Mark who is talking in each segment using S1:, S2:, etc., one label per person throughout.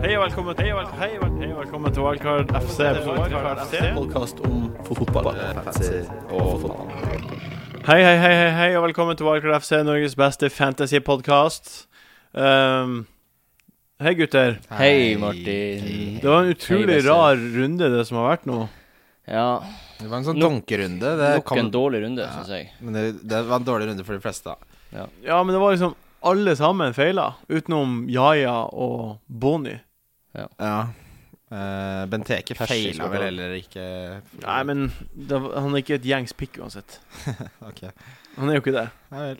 S1: Hei og velkommen til Hei og vel- hei og velkommen til Wildcard FC. Wildcard FC.
S2: podkast om fotball.
S1: Hei, hei, hei, hei, hei og velkommen til Wildcard FC, Norges beste fantasypodkast. Um, hei, gutter.
S3: Hei, Martin.
S1: Det var en utrolig
S3: Hei, Besse.
S1: rar runde, det som har vært nå.
S3: Ja,
S2: Det var en sånn
S3: Nok-
S2: donkerunde. Det,
S3: nok
S2: kom-
S3: en dårlig runde,
S2: Ja.
S3: syns jeg.
S2: men det, det var en dårlig runde for de fleste. da.
S1: Ja, men det var liksom alle sammen feila, utenom Yaya og Bonnie.
S2: Ja. Eh, Benteke
S3: Persis
S2: feila
S3: var
S2: vel
S3: bra.
S2: heller ikke.
S1: Nei, men det, var- han er ikke et gjengs pick uansett.
S2: Ok.
S1: Han er jo ikke det.
S2: Nei vel.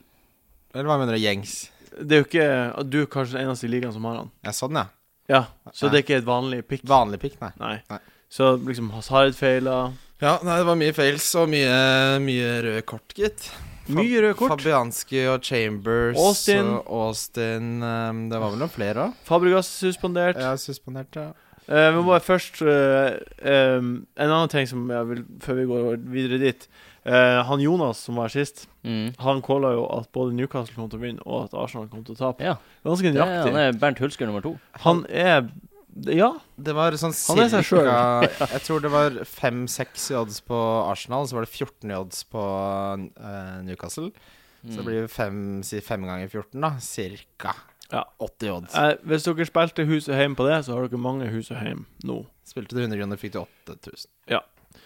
S2: Eller hva mener du, gjengs?
S1: Det er jo ikke Du er kanskje den eneste i ligaen som har han.
S2: Ja, sånn, ja.
S1: Ja, så det er ikke et vanlig pick.
S2: Vanlig pikk, nei.
S1: Nei.
S2: Nei.
S1: Så liksom Hazard feila.
S2: Ja, nei, det var mye fails og mye, mye røde kort, gitt.
S1: Mye røde kort.
S2: Fabianski og Chambers
S1: Austin.
S2: og Austin. eh, det var vel noen flere òg?
S1: Fabregas suspendert.
S2: Ja, suspendert, ja.
S1: Eh, men bare først eh, eh, En annen ting som jeg vil før vi går videre dit. Eh, han Jonas som var sist,
S3: Mm.
S1: han calla jo at både Newcastle kom til å vinne, og at Arsenal kom til å tape.
S3: Ja.
S1: Ganske
S3: Det, er-
S1: nøyaktig.
S3: han er Bernt Hulsker nummer to.
S1: han er Ja.
S2: Det var sånn
S1: Han er seg selv.
S2: cirka Jeg tror det var fem-seks i odds på Arsenal, så var det 14 i odds på eh, Newcastle.
S3: Mm.
S2: Så det blir fem, si fem ganger 14, da. Cirka
S1: Ja.
S2: 80 i odds.
S1: Eh, hvis dere spilte hus og heim på det, så har dere mange hus og heim nå.
S2: Spilte du 100 kroner, fikk du 8000.
S3: Mm.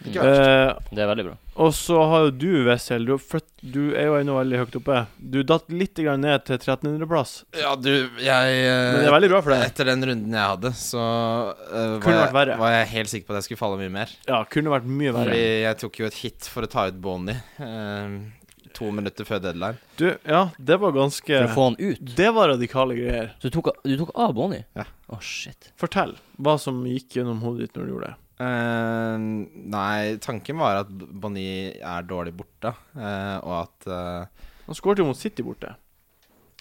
S2: Ikke verst.
S1: Eh,
S3: Det er veldig bra.
S1: og så har jo du, Wessel, du, har flytt- du er jo ennå veldig høyt oppe. Du datt litt grann ned til 1300-plass,
S2: Ja, du, jeg eh,
S1: men det er veldig bra for deg.
S2: Etter den runden jeg hadde, så eh,
S1: Kunne vært
S2: var, jeg,
S1: verre.
S2: var jeg helt sikker på at jeg skulle falle mye mer.
S1: Ja, kunne vært mye verre.
S2: Fordi jeg tok jo et hit for å ta ut Bonnie eh, to minutter før deadline.
S1: Du, ja, det var ganske
S3: For å få han ut.
S1: Det var radikale greier.
S3: Så du tok, du tok av Bonnie?
S2: Ja.
S3: Å, shit.
S1: Fortell hva som gikk gjennom hodet ditt når du gjorde det.
S2: Eh, nei, tanken var at Bonny er dårlig borte, eh, og at eh,
S1: Han skåret jo mot City borte.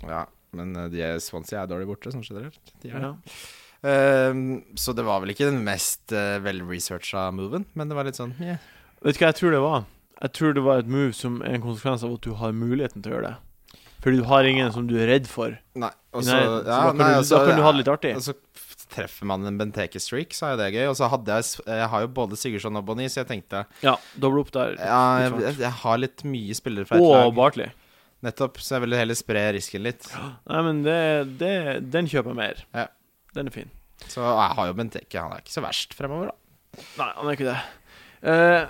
S2: Ja, men eh, de er- Swansea er dårlig borte, sånn generelt. De er det.
S1: Ja.
S2: Eh, så det var vel ikke den mest uh, velresearcha moven, men det var litt sånn yeah.
S1: Vet du hva jeg tror det var? Jeg tror det var et move som er en konsekvens av at du har muligheten til å gjøre det. Fordi du har ingen som du er redd for.
S2: Nei, og
S1: Nei,
S2: så
S1: så
S2: Altså, ja,
S1: da kan
S2: nei,
S1: du-
S2: altså, og så-
S1: da kan du ha det litt artig.
S2: Og så f- treffer man en Benteke-streak, så er jo det gøy. Og så hadde jeg s- Jeg har jo både Sigurdsson og Bonny, så jeg tenkte
S1: Ja, doble opp der.
S2: Ja,
S1: litt
S2: jeg,
S1: svart.
S2: jeg, jeg har litt mye spillere fra et
S1: Og
S2: lag.
S1: Bartley.
S2: Nettopp, så jeg ville heller spre risken litt.
S1: Nei, men det, det Den kjøper jeg mer.
S2: Ja.
S1: Den er fin.
S2: Så jeg har jo Benteke, han er ikke så verst fremover, da.
S1: Nei, han er ikke det. Eh,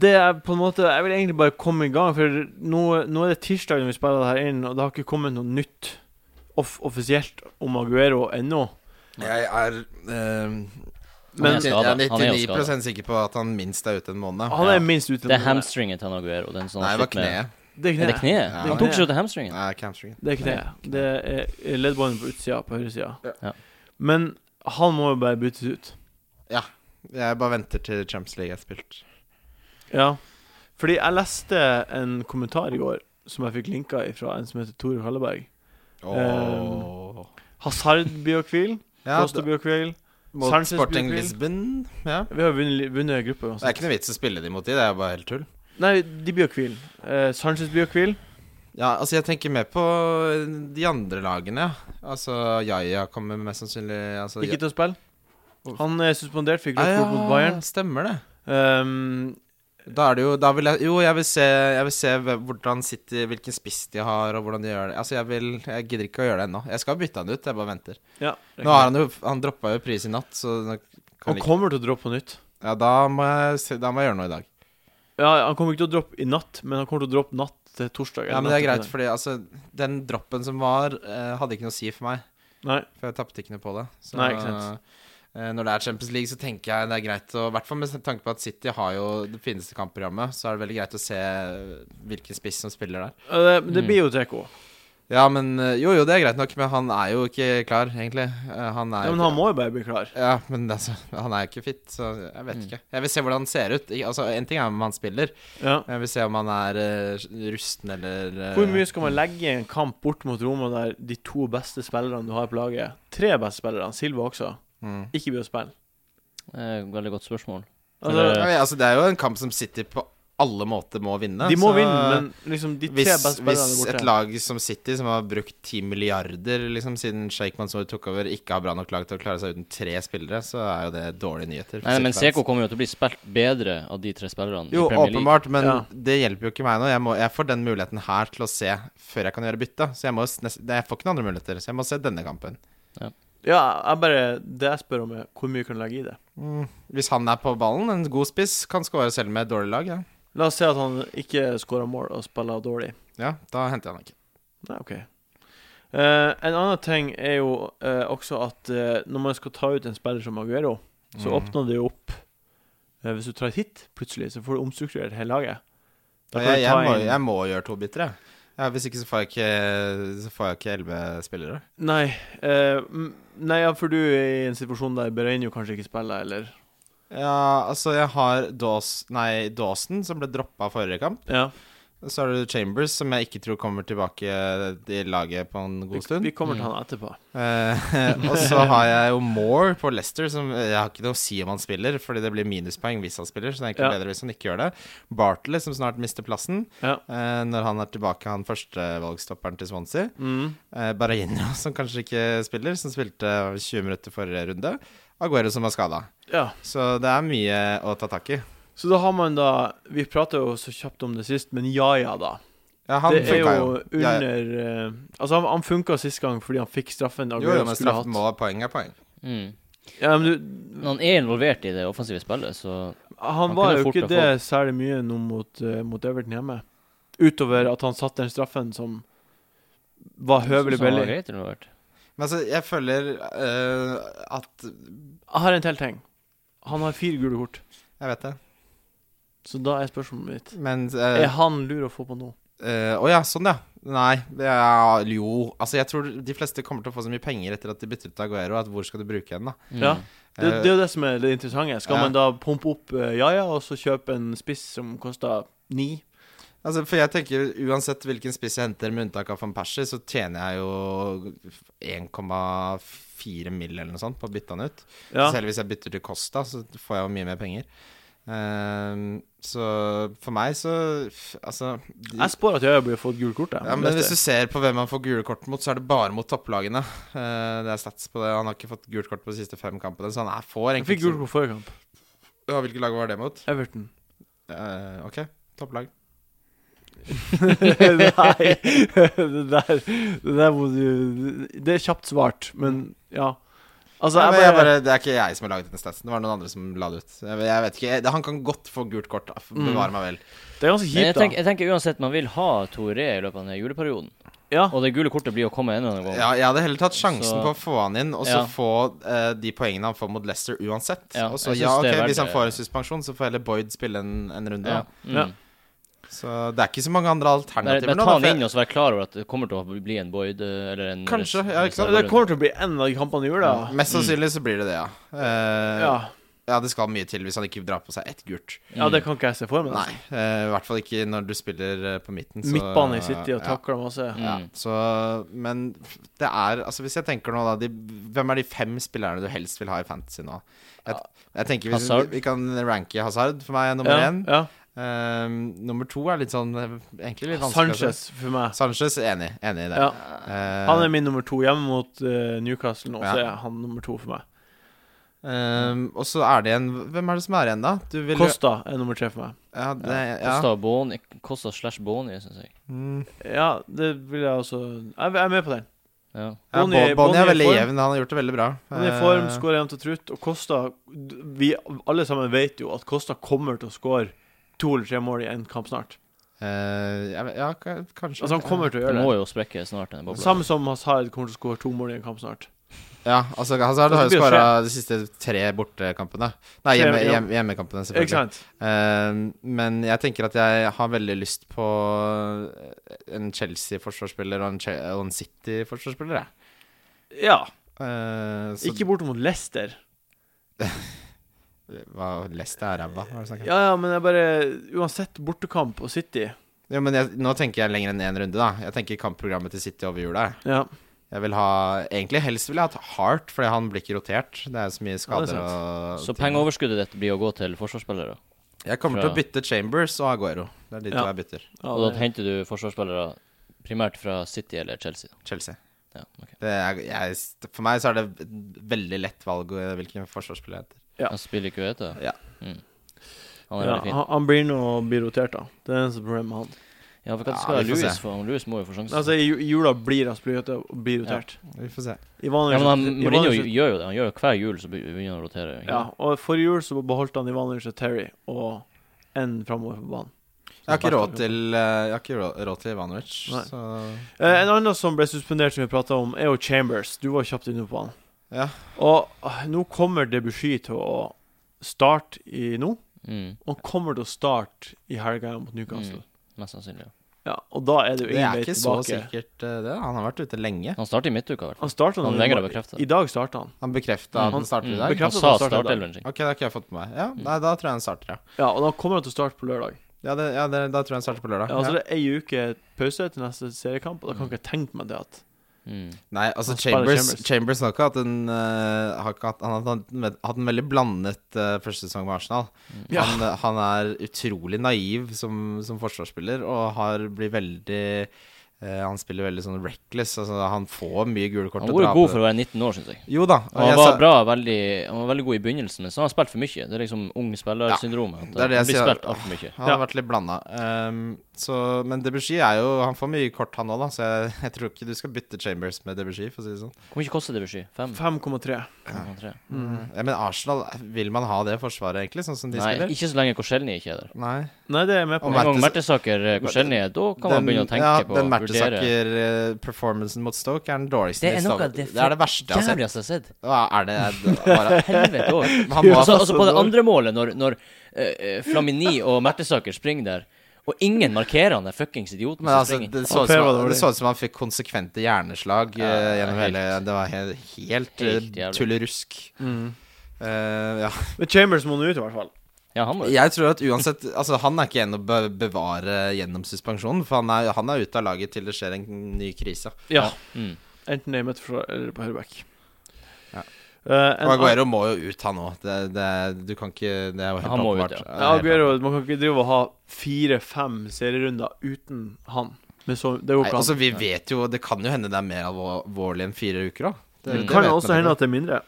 S1: det er på en måte Jeg vil egentlig bare komme i gang, for nå, nå er det tirsdag når vi spiller det her inn, og det har ikke kommet noe nytt off offisielt om Aguero ennå.
S2: Jeg er eh,
S1: Men-
S2: nitti-
S3: Han er skadet.
S2: jeg
S3: Han er
S2: er
S3: jo
S2: 99 sikker på at han minst er ute en måned.
S1: Han er
S3: Ja.
S1: minst ute.
S3: Det
S1: nå.
S3: er hamstringet til han Aguero. Den som
S2: Nei,
S3: han
S2: det var
S3: slitt med-
S2: kneet.
S1: Det er
S3: Er det
S1: kneet.
S3: kneet?
S2: Ja.
S3: Han tok seg jo til hamstringen.
S2: Nei, hamstringen.
S1: Det er kneet. Det er leddbåndet på utsida på høyresida.
S3: Ja.
S1: Men han må jo bare byttes ut.
S2: Jeg bare venter til Champions League er spilt.
S1: Ja. Fordi jeg leste en kommentar i går som jeg fikk linka fra en som heter Tore Kalleberg.
S2: Åh.
S1: Hazard biokvil,
S2: ja,
S1: Costa biokvil.
S2: mot
S1: Sanchez
S2: Sporting
S1: blir kvill.
S2: Lisbon. Ja.
S1: Vi har vunnet, vunnet gruppa
S2: Det er ikke noe vits å spille de mot de, det er bare helt tull.
S1: Nei, de blir jo hvil. Eh, Sanchez blir jo hvil.
S2: Ja, altså Jeg tenker mer på eh, de andre lagene. ja. Altså Yaya kommer mest sannsynlig altså,
S1: Ikke til å spille. Han er suspendert, fikk
S2: Ah, Ja,
S1: rødt kort mot Bayern.
S2: Stemmer det.
S1: Ehm,
S2: Da er det jo da vil jeg, Jo, jeg vil se, jeg vil se hve- hvordan City, hvilken spiss de har, og hvordan de gjør det. Altså, jeg, vil, jeg gidder ikke å gjøre det ennå. Jeg skal bytte han ut, jeg bare venter.
S1: ja.
S2: Nå har han jo Han droppa jo pris i natt, så nå kan
S1: Han
S2: jeg ikke
S1: kommer til å droppe på nytt.
S2: Ja, da må, jeg, se- da må jeg gjøre noe i dag.
S1: Ja, Han kommer ikke til å droppe i natt, men han kommer til å droppe natt til torsdag. eller
S2: Ja, men det er
S1: natt
S2: greit,
S1: til fredag.
S2: fordi altså Den droppen som var, eh, hadde ikke noe å si for meg,
S1: Nei.
S2: for jeg tapte ikke noe på det. Så,
S1: Nei, ikke sant.
S2: eh, Når det er Champions League, så tenker jeg det er greit å I hvert fall med tanke på at City har jo det fineste kampprogrammet, så er det veldig greit å se eh, hvilken spiss som spiller der.
S1: Ja, Det, men det
S3: Mm.
S1: blir jo Teko.
S2: Ja, men øh, Jo, jo, det er greit nok, men han er jo ikke klar, egentlig. Eh, Han er
S1: Ja, men
S2: jo ikke-
S1: han må jo bare bli klar.
S2: Ja, men altså, han er jo ikke fit, så jeg vet
S3: Mm.
S2: ikke. Jeg vil se hvordan han ser ut. I- Altså, En ting er om han spiller,
S1: Ja.
S2: jeg vil se om han er eh, rusten eller eh,
S1: Hvor mye skal man legge i en kamp bort mot Roma der de to beste spillerne du har på laget, tre beste spillerne, Silva også,
S2: mm.
S1: ikke blir å spille?
S3: Eh, Veldig godt spørsmål.
S1: Altså,
S3: Eller-
S2: Ja, men, altså, Det er jo en kamp som City på alle måter må vinne.
S1: De må
S2: så-
S1: vinne, men liksom de tre
S2: hvis,
S1: beste spillerne er
S2: hvis
S1: borte.
S2: et lag som City, som har brukt 10 milliarder liksom, siden Sheikh Mansour tok over, ikke har bra nok lag til å klare seg uten tre spillere, så er jo det dårlige nyheter. for
S3: Nei, men
S2: City-fans.
S3: Seko kommer jo til å bli spilt bedre av de tre spillerne
S2: Jo,
S3: i Premier League.
S2: åpenbart, men
S1: Ja.
S2: det hjelper jo ikke meg nå. Jeg, må, jeg får den muligheten her til å se før jeg kan gjøre bytte. Så jeg, må, s- nes- jeg får ikke noen andre muligheter, så jeg må se denne kampen.
S1: Ja, jeg bare Det jeg spør om, er hvor mye kan du legge i det.
S2: Mm. Hvis han er på ballen, en god spiss, kan skåre selv med et dårlig lag. Ja,
S1: La oss si at han ikke scorer mål og spiller dårlig.
S2: ja da henter jeg han ikke.
S1: Nei, OK. Eh, en annen ting er jo eh, også at eh, når man skal ta ut en spiller som Aguero, så
S2: Mhm.
S1: åpner det jo opp Eh, Hvis du tar et hit plutselig, så får du omstrukturert hele laget. Da kan
S2: Jeg,
S1: du ta
S2: jeg, må,
S1: inn-
S2: jeg må gjøre to bytter, jeg. Ja, hvis ikke så får jeg ikke Så får jeg ikke elleve spillere.
S1: Nei, eh, m- nei, ja, for du er i en situasjon der Berenio kanskje ikke spiller, eller
S2: Ja, altså, jeg har Daws, nei, Dawson, som ble droppa forrige kamp.
S1: Ja,
S2: Så har du Chambers, som jeg ikke tror kommer tilbake i laget på en
S1: vi,
S2: god stund. Mm.
S1: vi kommer til han etterpå.
S2: Eh, og så har jeg jo Moore på Leicester, som jeg har ikke noe å si om han spiller, fordi det blir minuspoeng hvis han spiller, så det er egentlig
S1: Ja.
S2: bedre hvis han ikke gjør det. Bartley, som snart mister plassen,
S1: Ja.
S2: eh, når han er tilbake, han førstevalgstopperen til Swansea.
S1: Mm.
S2: Uh, som kanskje ikke spiller, som spilte 20 minutter forrige runde. Aguero, som var skada.
S1: ja.
S2: Så det er mye å ta tak i.
S1: Så da har man da Vi prata jo så kjapt om det sist, men Jaja, da.
S2: Ja, han
S1: det er
S2: funka
S1: jo
S2: jo. Ja, ja.
S1: under eh, Altså, han, han funka sist gang fordi han fikk straffen
S2: Jo,
S1: Aguero
S2: jo, men
S1: skulle hatt.
S2: straff må poeng er poeng.
S3: Mm.
S1: Ja, men du,
S3: Men han er involvert i det offensive spillet, så
S1: han,
S3: Han
S1: var
S3: kunne
S1: jo
S3: fort
S1: ikke
S3: ha
S1: det særlig mye nå mot, eh, mot Everton hjemme. Utover at han satte den straffen som var høvelig
S3: så han var
S1: billig.
S3: greit involvert.
S2: Men altså, jeg føler eh, at
S1: Jeg har en til ting. Han har fire gule kort.
S2: Jeg vet det,
S1: Så da er spørsmålet mitt
S2: men eh,
S1: Er han lur å få på nå?
S2: Eh, Å ja, sånn ja. Nei, det er, jo Altså, jeg tror de fleste kommer til å få så mye penger etter at de bytter ut Aguero, at hvor skal du bruke henne, da?
S3: Mm.
S1: Ja. Det,
S2: Eh,
S1: det er jo det som er det interessante. Skal
S2: ja.
S1: man da pumpe opp eh, Jaja og så kjøpe en spiss som koster ni?
S2: Altså, for jeg tenker uansett hvilken spiss jeg henter, med unntak av van Persie, så tjener jeg jo 1,4 mill. eller noe sånt på å bytte han ut.
S1: Ja.
S2: Selv hvis jeg bytter til Costa, så får jeg jo mye mer penger. Eh, så for meg så Altså de-
S1: Jeg spår at Jaja blir fått gult kort. jeg.
S2: Ja, men hvis du ser på hvem han får gule kort mot, så er det bare mot topplagene. Eh, det er stats på det. Han har ikke fått gult kort på de siste fem kampene, så han er får
S1: Jeg fikk
S2: egentlig
S1: gult
S2: ikke
S1: kort forrige kamp.
S2: så- ja, Hvilke lag var det mot?
S1: Everton.
S2: Eh, ok, topplag.
S1: Nei, det der, det der må du Det er kjapt svart, men ja. Altså, jeg
S2: Nei,
S1: bare,
S2: men jeg bare, det er ikke jeg som har laget den statsen, det var noen andre som la det ut. Jeg, jeg vet ikke, jeg, Han kan godt få gult kort, da. bevare meg vel.
S1: Det er ganske
S3: Men jeg,
S1: kjipt,
S3: tenker,
S1: da.
S3: jeg tenker uansett man vil ha Toré i løpet av denne juleperioden.
S1: Ja,
S3: Og det gule kortet blir å komme enda en gang.
S2: Ja, jeg hadde heller tatt sjansen
S3: Så-
S2: på å få han inn, og så
S3: Ja.
S2: få eh, de poengene han får mot Leicester uansett.
S3: Ja,
S2: og så,
S3: jeg synes
S2: ja,
S3: det er
S2: ok,
S3: verdt
S2: Hvis han
S3: det.
S2: får en suspensjon, så får heller Boyd spille en, en runde.
S3: Ja.
S2: Da.
S3: Mm.
S1: Ja.
S2: Så det er ikke så mange andre
S3: Bare,
S2: alternativer
S3: bare
S2: nå,
S3: ta
S2: da,
S3: han
S2: for-
S3: inn og så være klar over at det kommer til å bli en Boyd eh, eller en
S2: Kanskje, ja, ikke sant?
S1: det kommer til å bli en av de kampene i jula.
S2: Mest sannsynlig så blir det det, ja. Eh,
S1: Ja.
S2: ja. Det skal mye til hvis han ikke drar på seg ett gult.
S3: Mm.
S1: ja, det kan ikke jeg se for meg.
S2: Mm. Nei,
S1: altså.
S2: eh, I hvert fall ikke når du spiller eh, på midten. Så,
S1: Midtbane i City og
S2: ja.
S1: takler masse.
S2: Ja,
S3: Mm.
S2: så, men det er Altså, hvis jeg tenker nå, da de, Hvem er de fem spillerne du helst vil ha i Fantasy nå? Jeg, jeg tenker hvis
S3: Hazard.
S2: Vi kan ranke Hazard for meg, er nummer
S1: Ja,
S2: én.
S1: ja.
S2: Eh, nummer to er litt sånn eh, Egentlig litt vanskelig. å se.
S1: Sanchez for meg.
S2: Sanchez, enig. Enig i det.
S1: Ja.
S2: Eh,
S1: Han er min nummer to hjemme mot eh, Newcastle nå, så
S2: Ja.
S1: er han nummer to for meg.
S2: eh, og så er det en Hvem er det som er igjen, da? Du vil jo-
S1: Costa er nummer tre for meg.
S2: ja, det, ja.
S3: Kosta Boni, Kosta slash Boni, syns jeg.
S2: Mm.
S1: Ja, det vil jeg også Jeg jeg er med på den.
S3: Ja.
S2: Ja,
S1: Bonny-
S2: Bonny,
S1: Bonny
S2: er
S1: i
S2: veldig
S1: form.
S2: jevn. Han har gjort det veldig bra.
S1: Han er i form,
S2: Eh.
S1: skårer jevnt og trutt. Og Costa d- Vi alle sammen vet jo at Costa kommer til å skåre to eller tre mål i en kamp snart.
S2: Eh, jeg vet- ja, ka- kanskje.
S1: Altså Han kommer til å
S3: Det
S1: gjøre
S3: må
S1: det.
S3: jo sprekke snart, denne bobla.
S1: Samme som Hazard kommer til å skåre to mål i en kamp snart.
S2: Ja, altså Hazard har
S1: Det
S2: jo
S1: blir å
S2: skåra de siste tre bortekampene. Nei,
S1: Tre,
S2: hjemme,
S1: ja.
S2: hjem, hjemmekampene,
S1: Ikke
S2: selvfølgelig.
S1: sant?
S2: Eh, men jeg tenker at jeg har veldig lyst på en Chelsea-forsvarsspiller og en, Che- og en City-forsvarsspiller, jeg.
S1: Ja.
S2: Eh, så
S1: Ikke borte mot Leicester.
S2: Hva Leicester er ræva, hva er det du snakker om?
S1: Ja, ja, men jeg bare Uansett, bortekamp og City
S2: Jo, men jeg, nå tenker jeg lenger enn én runde, da. Jeg tenker kampprogrammet til City over jula. jeg.
S1: Ja.
S2: Jeg vil ha Egentlig helst vil jeg ha Hart, fordi han blir ikke rotert. Det er så mye skader
S1: sant.
S2: og
S3: Så pengeoverskuddet ditt blir å gå til forsvarsspillere.
S2: Jeg kommer til å
S3: Fra-
S2: bytte Chambers og Aguero. Det er de
S1: Ja.
S2: to jeg bytter.
S1: Ja,
S3: Og da
S1: det-
S3: henter du forsvarsspillere primært fra City eller Chelsea.
S2: Chelsea.
S3: Ja, ok.
S2: Det er, jeg, for meg så er det et veldig lett valg eh, hvilken forsvarsspiller jeg heter.
S1: Ja.
S3: Han spiller ikke vet du.
S2: Ja.
S3: Mm. Han er
S1: ja,
S3: veldig fin.
S1: han, han blir nå å bli rotert, da. Det er det eneste problemet med han.
S3: Ja, for hva
S2: Ja,
S3: skal
S2: vi får
S3: Louis
S2: se.
S3: få? Han Louis må jo få sjansen.
S1: Altså, I ju- jula blir han spløyete og blir rotert.
S2: Vi får se.
S3: ja,
S1: Ivanovic
S3: men han,
S1: Ivanovic-
S3: Mourinho gjør jo det. Han gjør jo hver jul så begynner han å rotere. ikke
S1: Ja,
S3: sant?
S1: og forrige jul så beholdt han Ivanovic og Terry og en framover på banen.
S2: Jeg har ikke råd til, eh, jeg har ikke rå- råd til Ivanovic,
S1: Nei.
S2: så
S1: Eh, en annen som ble suspendert, som vi prata om, er jo Chambers. Du var kjapt inne på han.
S2: Ja.
S1: Og ah, nå kommer Debussy til å starte i nå.
S3: Mm.
S1: Og han kommer til å starte i helga mot Newcastle.
S3: Mm. Mest sannsynlig. ja.
S1: Ja, og da er det jo
S2: Det
S1: ingen
S2: er
S1: vei
S2: ikke så
S1: tilbake.
S2: sikkert, eh, det. Han har vært ute lenge.
S3: Han starter i midtuka, i hvert fall.
S1: Han starta
S3: Han
S1: nå.
S3: nekter å
S1: i-
S3: bekrefte det.
S1: I dag starta han.
S2: Han bekrefta at
S3: Mm.
S2: han starter i
S3: Mm.
S2: dag.
S1: Bekreftet
S3: Han
S1: at
S3: sa
S1: han starter i dag.
S3: startelveren sin.
S2: Ok, det har ikke jeg fått med meg. Ja, nei, da tror jeg han starter, ja.
S1: Ja, og da kommer han til å starte på lørdag.
S2: Ja, det, ja det, Da tror jeg han starter på lørdag.
S1: Ja, altså
S2: Ja.
S1: Det er ei uke pause til neste seriekamp, og da kan ikke jeg tenke meg det at
S3: Mm.
S2: Nei, altså
S1: Han spiller
S2: Chambers,
S1: Chambers.
S2: Chambers har ikke hatt en eh, har ikke hatt, Han har hatt en, hatt en veldig blandet eh, første sesong med Arsenal.
S3: Mm.
S1: Ja.
S2: Han, han er utrolig naiv som, som forsvarsspiller og har blir veldig eh, Han spiller veldig sånn reckless. Altså, han får mye gule kort.
S3: Han
S2: og
S3: var jo
S2: drar
S3: god
S2: på
S3: for å være 19 år, syns jeg.
S2: det. Jo da. og
S3: Og han
S2: jeg
S3: var
S2: sa-
S3: bra, veldig, han var veldig god i begynnelsen, men så har han spilt for mye. Det er liksom ung spillersyndromet.
S2: det er
S3: at
S2: det
S3: han
S2: jeg
S3: blir
S2: sier.
S3: spilt altfor mye.
S2: Han har vært litt blanda. Ehm, så- men Debussy er jo Han får mye kort, han òg, da, så jeg, jeg tror ikke du skal bytte Chambers med Debussy, for å si det sånn.
S3: Hvor mye koster det ved sky?
S2: Mm.
S3: Fem?
S1: 5,3.
S3: Fem, tre?
S2: Ja, Eh, men Arsenal, vil man ha det forsvaret, egentlig, sånn som de
S3: Mm. Nei,
S2: spiller?
S3: ikke så lenge Korselny ikke er der.
S2: Nei.
S1: Nei, det er jeg med på.
S2: Og
S3: Med en gang
S2: Mertes-
S3: Mertesaker eh, Korselny er, da kan man begynne å tenke
S2: ja,
S3: på
S2: den
S3: å vurdere.
S2: Mertesaker-performancen mot Stoke er den dårligste.
S3: Det er
S2: i
S3: noe
S2: Stoke.
S3: av det
S2: det er det verste jeg har sett.
S3: Jævligste altså, jeg har sett.
S2: Hva er det det er bare,
S3: Helvete òg.
S2: Han var
S3: Altså,
S2: så
S3: altså på det
S2: dårlig.
S3: andre målet, når, når eh, eh, Flamini og Mertesaker springer der, og ingen markerer han der fuckings idioten
S2: Men
S3: som
S2: altså,
S3: springer.
S2: det så
S1: Han
S2: ut som,
S1: prøver
S2: han-
S1: dårlig.
S2: det så ut som han fikk konsekvente hjerneslag eh,
S3: Ja,
S2: gjennom
S3: helt.
S2: hele Det var helt, helt,
S3: Helt
S2: eh,
S3: jævlig.
S2: tullerusk.
S1: Mm.
S2: Eh, ja.
S1: Men Chambers må nå ut, i hvert fall.
S3: Ja, han må
S2: Jeg tror at uansett Altså, han er ikke en å be- bevare gjennom suspensjonen, for han er, han er ute av laget til det skjer en ny krise.
S1: Ja.
S3: mm.
S1: Enten det er i midtforsvar eller på høyreback.
S2: Ja.
S1: Eh, en
S2: Og Aguero må jo ut, han òg. Det, det, du kan ikke Det er jo helt
S3: Han må ut,
S2: åpenbart.
S3: ja.
S1: annen- Ja, Aguero, man kan ikke drive og ha fire-fem serierunder uten han. Men så, det går
S2: Nei,
S1: ikke
S2: altså,
S1: an.
S2: vi vet jo Det kan jo hende det er mer alvor- alvorlig enn fire uker, da.
S3: Mm.
S1: Det kan
S2: vet
S1: jo
S2: man
S1: også
S2: ikke.
S1: hende at det er mindre.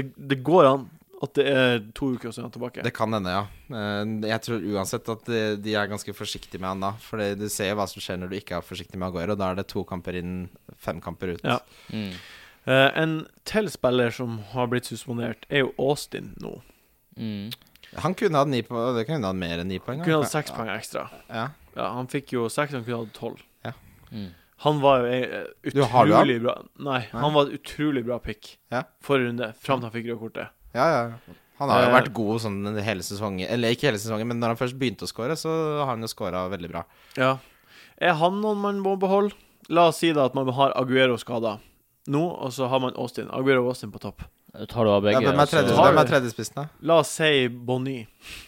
S1: Det, det går an at det er to uker og så er han tilbake.
S2: Det kan hende, ja. Eh, Jeg tror uansett at de, de er ganske forsiktige med han da. For det- du ser jo hva som skjer når du ikke er forsiktig med Aguero. Da er det to kamper inn, fem kamper ut.
S1: Ja.
S3: Mm.
S1: Eh, en til spiller som har blitt suspendert, er jo Austin nå.
S3: Mm.
S2: Han kunne hatt ni poeng, det kunne hatt mer enn ni poeng.
S1: Han
S2: da.
S1: kunne hatt seks poeng ekstra.
S2: Ja.
S1: Ja, han fikk jo seks, han kunne hatt tolv.
S3: Mm.
S1: Han var jo eh,
S2: Du, har du han?
S1: utrolig bra Nei, han var et utrolig bra pick
S2: Ja.
S1: forrige runde, fram til han fikk røde kortet.
S2: Ja, ja. ja. Han har jo
S1: Eh,
S2: vært god sånn hele sesongen. Eller ikke hele sesongen, men når han først begynte å score, så har han jo scora veldig bra.
S1: Ja. Er han noen man må beholde? La oss si da at man har Aguero skada nå, og så har man Austin. Aguero og Austin på topp.
S3: Da Tar du av
S2: Ja,
S3: begge?
S2: hvem er
S3: og så-
S2: tredje-
S1: Har
S2: hvem er
S1: du-
S2: tredjespissen, da?
S1: La oss si Bonny.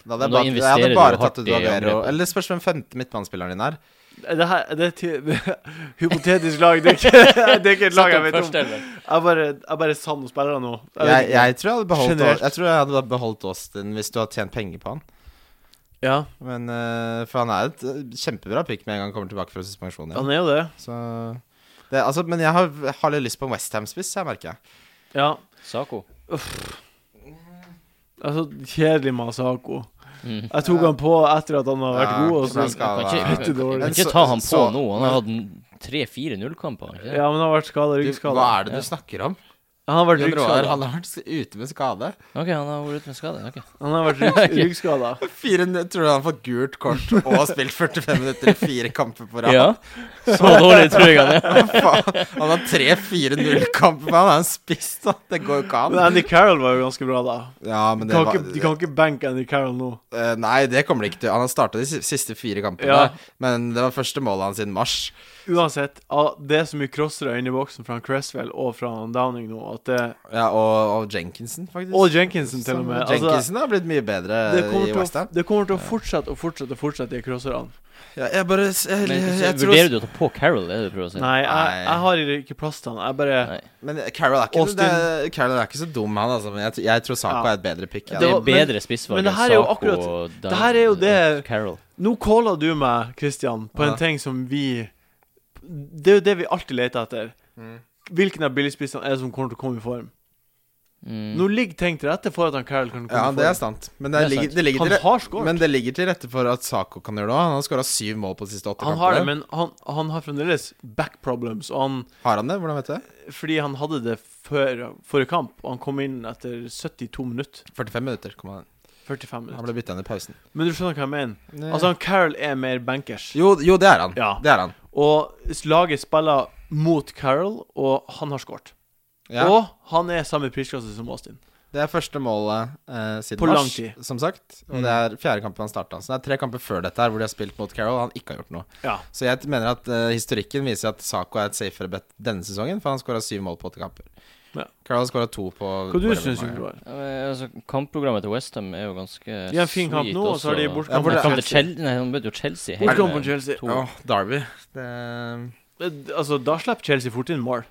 S2: Da hadde jeg
S3: Da
S2: bare, jeg
S3: investerer
S2: hadde
S3: du
S2: bare
S3: hardt
S2: tatt ut
S3: i
S2: Aguero.
S3: angrepet.
S2: Eller spørs hvem femte midtbanespilleren din er.
S1: Det her det er til, hypotetisk lag. Det er ikke, det er ikke et lag jeg vet om.
S3: Først, eller?
S1: Jeg bare, jeg bare savner spillere nå. Jeg vet
S2: Jeg,
S1: ikke.
S2: jeg, tror jeg, hadde beholdt,
S1: Generelt.
S2: jeg tror jeg hadde beholdt Austin hvis du hadde tjent penger på han.
S1: ja,
S2: Men, eh, for han er et eh, kjempebra pick med en gang han kommer tilbake fra suspensjon. Ja.
S1: han er jo det.
S2: Så, det, altså, men jeg har, jeg har litt lyst på en Westham-spiss, jeg merker jeg.
S1: Ja.
S3: Sako.
S1: Altså, kjedelig med Asako.
S3: Mm.
S1: Jeg tok han på etter at han har vært
S2: Ja,
S1: god, og
S2: for
S1: så
S2: han skal
S3: Kan ikke-
S2: være-
S1: Fette dårlig.
S2: Men
S3: Kan ikke
S2: så-
S3: ta han på
S2: så-
S3: nå. Han har hatt tre-fire nullkamper. har han ikke det?
S1: Ja, men han har vært skada,
S2: Du,
S1: ryggskada.
S2: Hva er det du snakker om?
S1: Han har vært
S2: Jon Roar,
S1: ryggskada.
S2: han har vært ute med skade.
S3: Ok, han har vært ute med skade. ok.
S1: Han har vært rygg, ryggskada.
S2: Fire, tror du han får gult kort og har spilt 45 minutter i fire kamper på rad?
S3: Ja. Så dårlig tror jeg han er.
S2: Faen, han har tre-fire nullkamper, men han er en spiss, da. Det går jo ikke
S1: Men
S2: an.
S1: Andy Carroll var jo ganske bra, da.
S2: Ja, men
S1: De
S2: det
S1: kan,
S2: var-
S1: ikke, de kan ikke benke Andy Carroll nå.
S2: Eh, Nei, det kommer det ikke til. Han har starta de si- siste fire kampene,
S1: Ja.
S2: men det var første målet hans siden mars.
S1: Uansett, ah, det er så mye crossere inne i boksen fra han Cresswell og fra han Downing nå At det,
S2: Ja, og, og Jenkinson, faktisk.
S1: og Jenkinson, til og med.
S2: Som-
S1: Altså,
S2: Jenkinson har blitt mye bedre
S1: det, kommer
S2: i
S1: til å,
S2: Westham.
S1: det kommer til å fortsette og fortsette og fortsette, de crosserne.
S2: Ja, jeg bare jeg,
S3: Men
S2: jeg,
S3: så
S2: jeg
S3: vurderer du å
S2: tror,
S3: ta på Carol, er det du prøver å si?
S1: Nei, jeg,
S2: Altså, Nei.
S1: jeg har ikke plass til han. Jeg bare
S3: Nei.
S2: Men Carroll er, ikke,
S1: Austin.
S2: det, er- Carroll er ikke så dum, han, altså. Men jeg, jeg tror Sako
S1: Ja.
S2: er et bedre pick. Ja.
S1: Det
S3: Det
S1: var-
S3: er
S1: men-
S3: bedre spissvalg
S1: men det
S3: enn
S1: her er jo
S3: Sako
S1: akkurat-
S3: og
S1: det her er jo det-
S3: Carol.
S1: Nå caller du meg, Christian, på en
S2: Ja.
S1: ting som vi Det er jo det vi alltid leter etter.
S2: Mm.
S1: Hvilken av billigspissene er det som kommer til å komme i form?
S3: Mm.
S1: Nå ligger ting til rette for at han Carol kan komme
S2: Ja,
S1: i
S2: det er
S1: form.
S2: sant. Men
S3: Det
S2: det,
S3: er
S2: ligger,
S3: sant.
S2: det, ligger, til,
S1: Han
S2: re-
S1: har skåret.
S2: men det ligger til rette for at Sako kan gjøre det òg. Han har skåra syv mål på de siste åtte
S1: Han har det,
S2: kampene.
S1: men han, han har fremdeles back problems. Og han,
S2: Har han det? Hvordan vet du det?
S1: fordi han hadde det før forrige kamp, og han kom inn etter 72 minutter.
S2: 45 minutter. Kom han.
S1: 45
S2: han
S1: minutter.
S2: ble bytta inn i pausen.
S1: Men du skjønner hva jeg mener? Altså, han Carol er mer bankers.
S2: jo, jo, det er han.
S1: Ja.
S2: Det er han.
S1: Og s- laget spiller mot Carol, og han har skåret.
S2: Ja.
S1: Og han er samme prisklasse som Austin.
S2: Det er første målet eh, siden
S1: På lang
S2: mars,
S1: tid. Mm.
S2: som sagt. Og det er fjerde kampen han starta. Så det er tre kamper før dette her hvor de har spilt mot Carroll og han ikke har gjort noe.
S1: Ja.
S2: Så jeg mener at eh, historikken viser at Sako er et safere bet denne sesongen, for han skåra syv mål på åtte kamper.
S1: Ja.
S2: Carroll har skåra to på
S1: Hva du
S2: på
S1: syns du,
S2: Revermar.
S1: Roar?
S3: Ja, men, altså, kampprogrammet til Westham er jo ganske
S1: De har en fin kamp
S3: sweet
S1: nå, og så har de
S3: også.
S1: bortkamp
S2: Ja, for
S3: Nei,
S2: det-
S3: kamp til Chelsea. Nei, han møter jo Chelsea. hele-
S1: Bortkamp mot Chelsea.
S3: to.
S2: Ja, Derby. Det...
S1: Eh, Altså, da slipper Chelsea fort inn mål.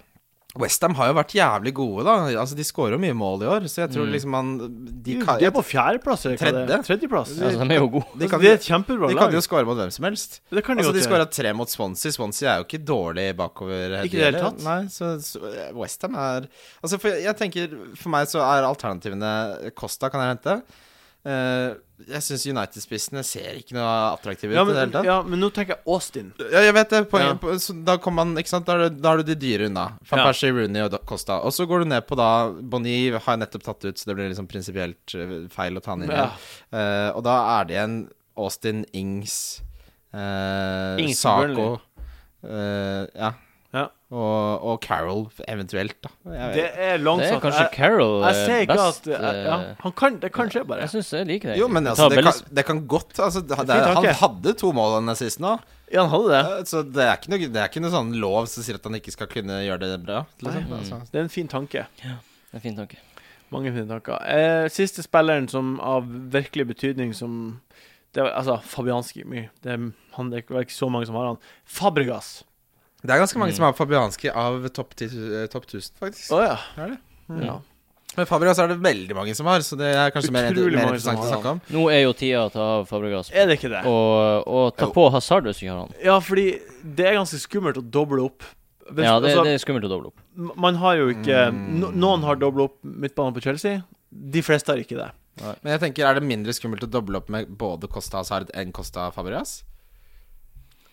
S2: Westham har jo vært jævlig gode, da. Altså, De skårer jo mye mål i år, så jeg tror
S3: Mm.
S2: liksom han
S1: Mm, De,
S2: De kan,
S1: er på fjerdeplass. eller hva det er?
S2: Tredje?
S1: Tredjeplass.
S3: Altså, de er jo gode.
S2: de kan,
S1: det er et
S2: de,
S1: kjempebra
S2: kan
S1: lag.
S2: jo skåre mot hvem som helst.
S1: Det kan de
S2: Altså, de
S1: godt gjøre.
S2: skåra tre mot Swansea. Swansea er jo ikke dårlig bakover.
S1: Ikke i det hele
S2: heller.
S1: tatt.
S2: Nei, så, så Westham er Altså, for, jeg tenker, for meg så er alternativene Costa kan jeg hente. Eh, jeg syns United-spissene ser ikke noe attraktive ut
S1: Ja
S2: i det hele
S1: men,
S2: tatt.
S1: ja, men nå tenker jeg Austin.
S2: Ja, jeg vet det. Poenget,
S1: Ja.
S2: på- så da kommer man Ikke sant, da har du, da har du de dyre unna. Van
S1: Ja.
S2: Persie, Rooney og da- Costa. Og så går du ned på da Bonny har jeg nettopp tatt ut, så det blir liksom prinsipielt eh, feil å ta han inn
S1: Ja.
S2: igjen. Eh, og da er det igjen Austin Ings, eh,
S1: Ings fra
S2: Sako eh, ja.
S1: Ja.
S2: Og, og Carol, eventuelt, da. Jeg vet.
S1: Det er
S3: Det er
S1: langsomt.
S3: kanskje
S1: Jeg,
S3: Carol
S1: jeg
S3: eh,
S1: ser ikke
S3: best.
S1: at eh, ja,
S3: eh,
S1: han kan, Det kan skje, bare.
S3: Jeg syns jeg liker det.
S2: jo, men
S3: Vi
S2: altså,
S3: tar
S2: det,
S3: Bellis-
S2: kan, det kan godt altså, det, det,
S1: Fin
S2: Han
S1: tanke.
S2: hadde to mål denne sist nå.
S1: Ja, han hadde det.
S2: Eh, Så det er, ikke noe, det er ikke noe sånn lov som sier at han ikke skal kunne gjøre det bra. Liksom.
S3: Nei.
S2: Altså,
S1: Det er en fin tanke.
S3: Det er en fin tanke.
S1: Mange fine tanker. Eh, siste spilleren som av virkelig betydning som det var, Altså, Fabianski mye. Det, er- han, det er ikke- det er ikke så mange som har han. Fabregas.
S2: Det er ganske mange
S3: Mm.
S2: som har Fabianski av topp 10 eh, topp 1000, faktisk.
S1: Å ja.
S2: Er det?
S3: Mm.
S1: ja.
S2: Men Fabregas er det veldig mange som har, så det er kanskje mer,
S1: Utrolig
S2: mer
S1: mange som
S2: interessant å
S1: har
S2: snakke om.
S3: Nå er jo tida å ta av Fabregas.
S1: Er det ikke det?
S3: Og, og ta
S2: Jo.
S3: på Hazard hvis du ikke har han.
S1: Ja, fordi det er ganske skummelt å doble opp. Hvis-
S3: Ja, det,
S1: altså,
S3: det er skummelt å doble opp.
S1: m- Man har jo ikke
S2: Mm.
S1: no, Noen har dobla opp midtbanen på Chelsea. De fleste har ikke det.
S2: Men jeg tenker, er det mindre skummelt å doble opp med både Costa Hazard enn Costa Fabregas?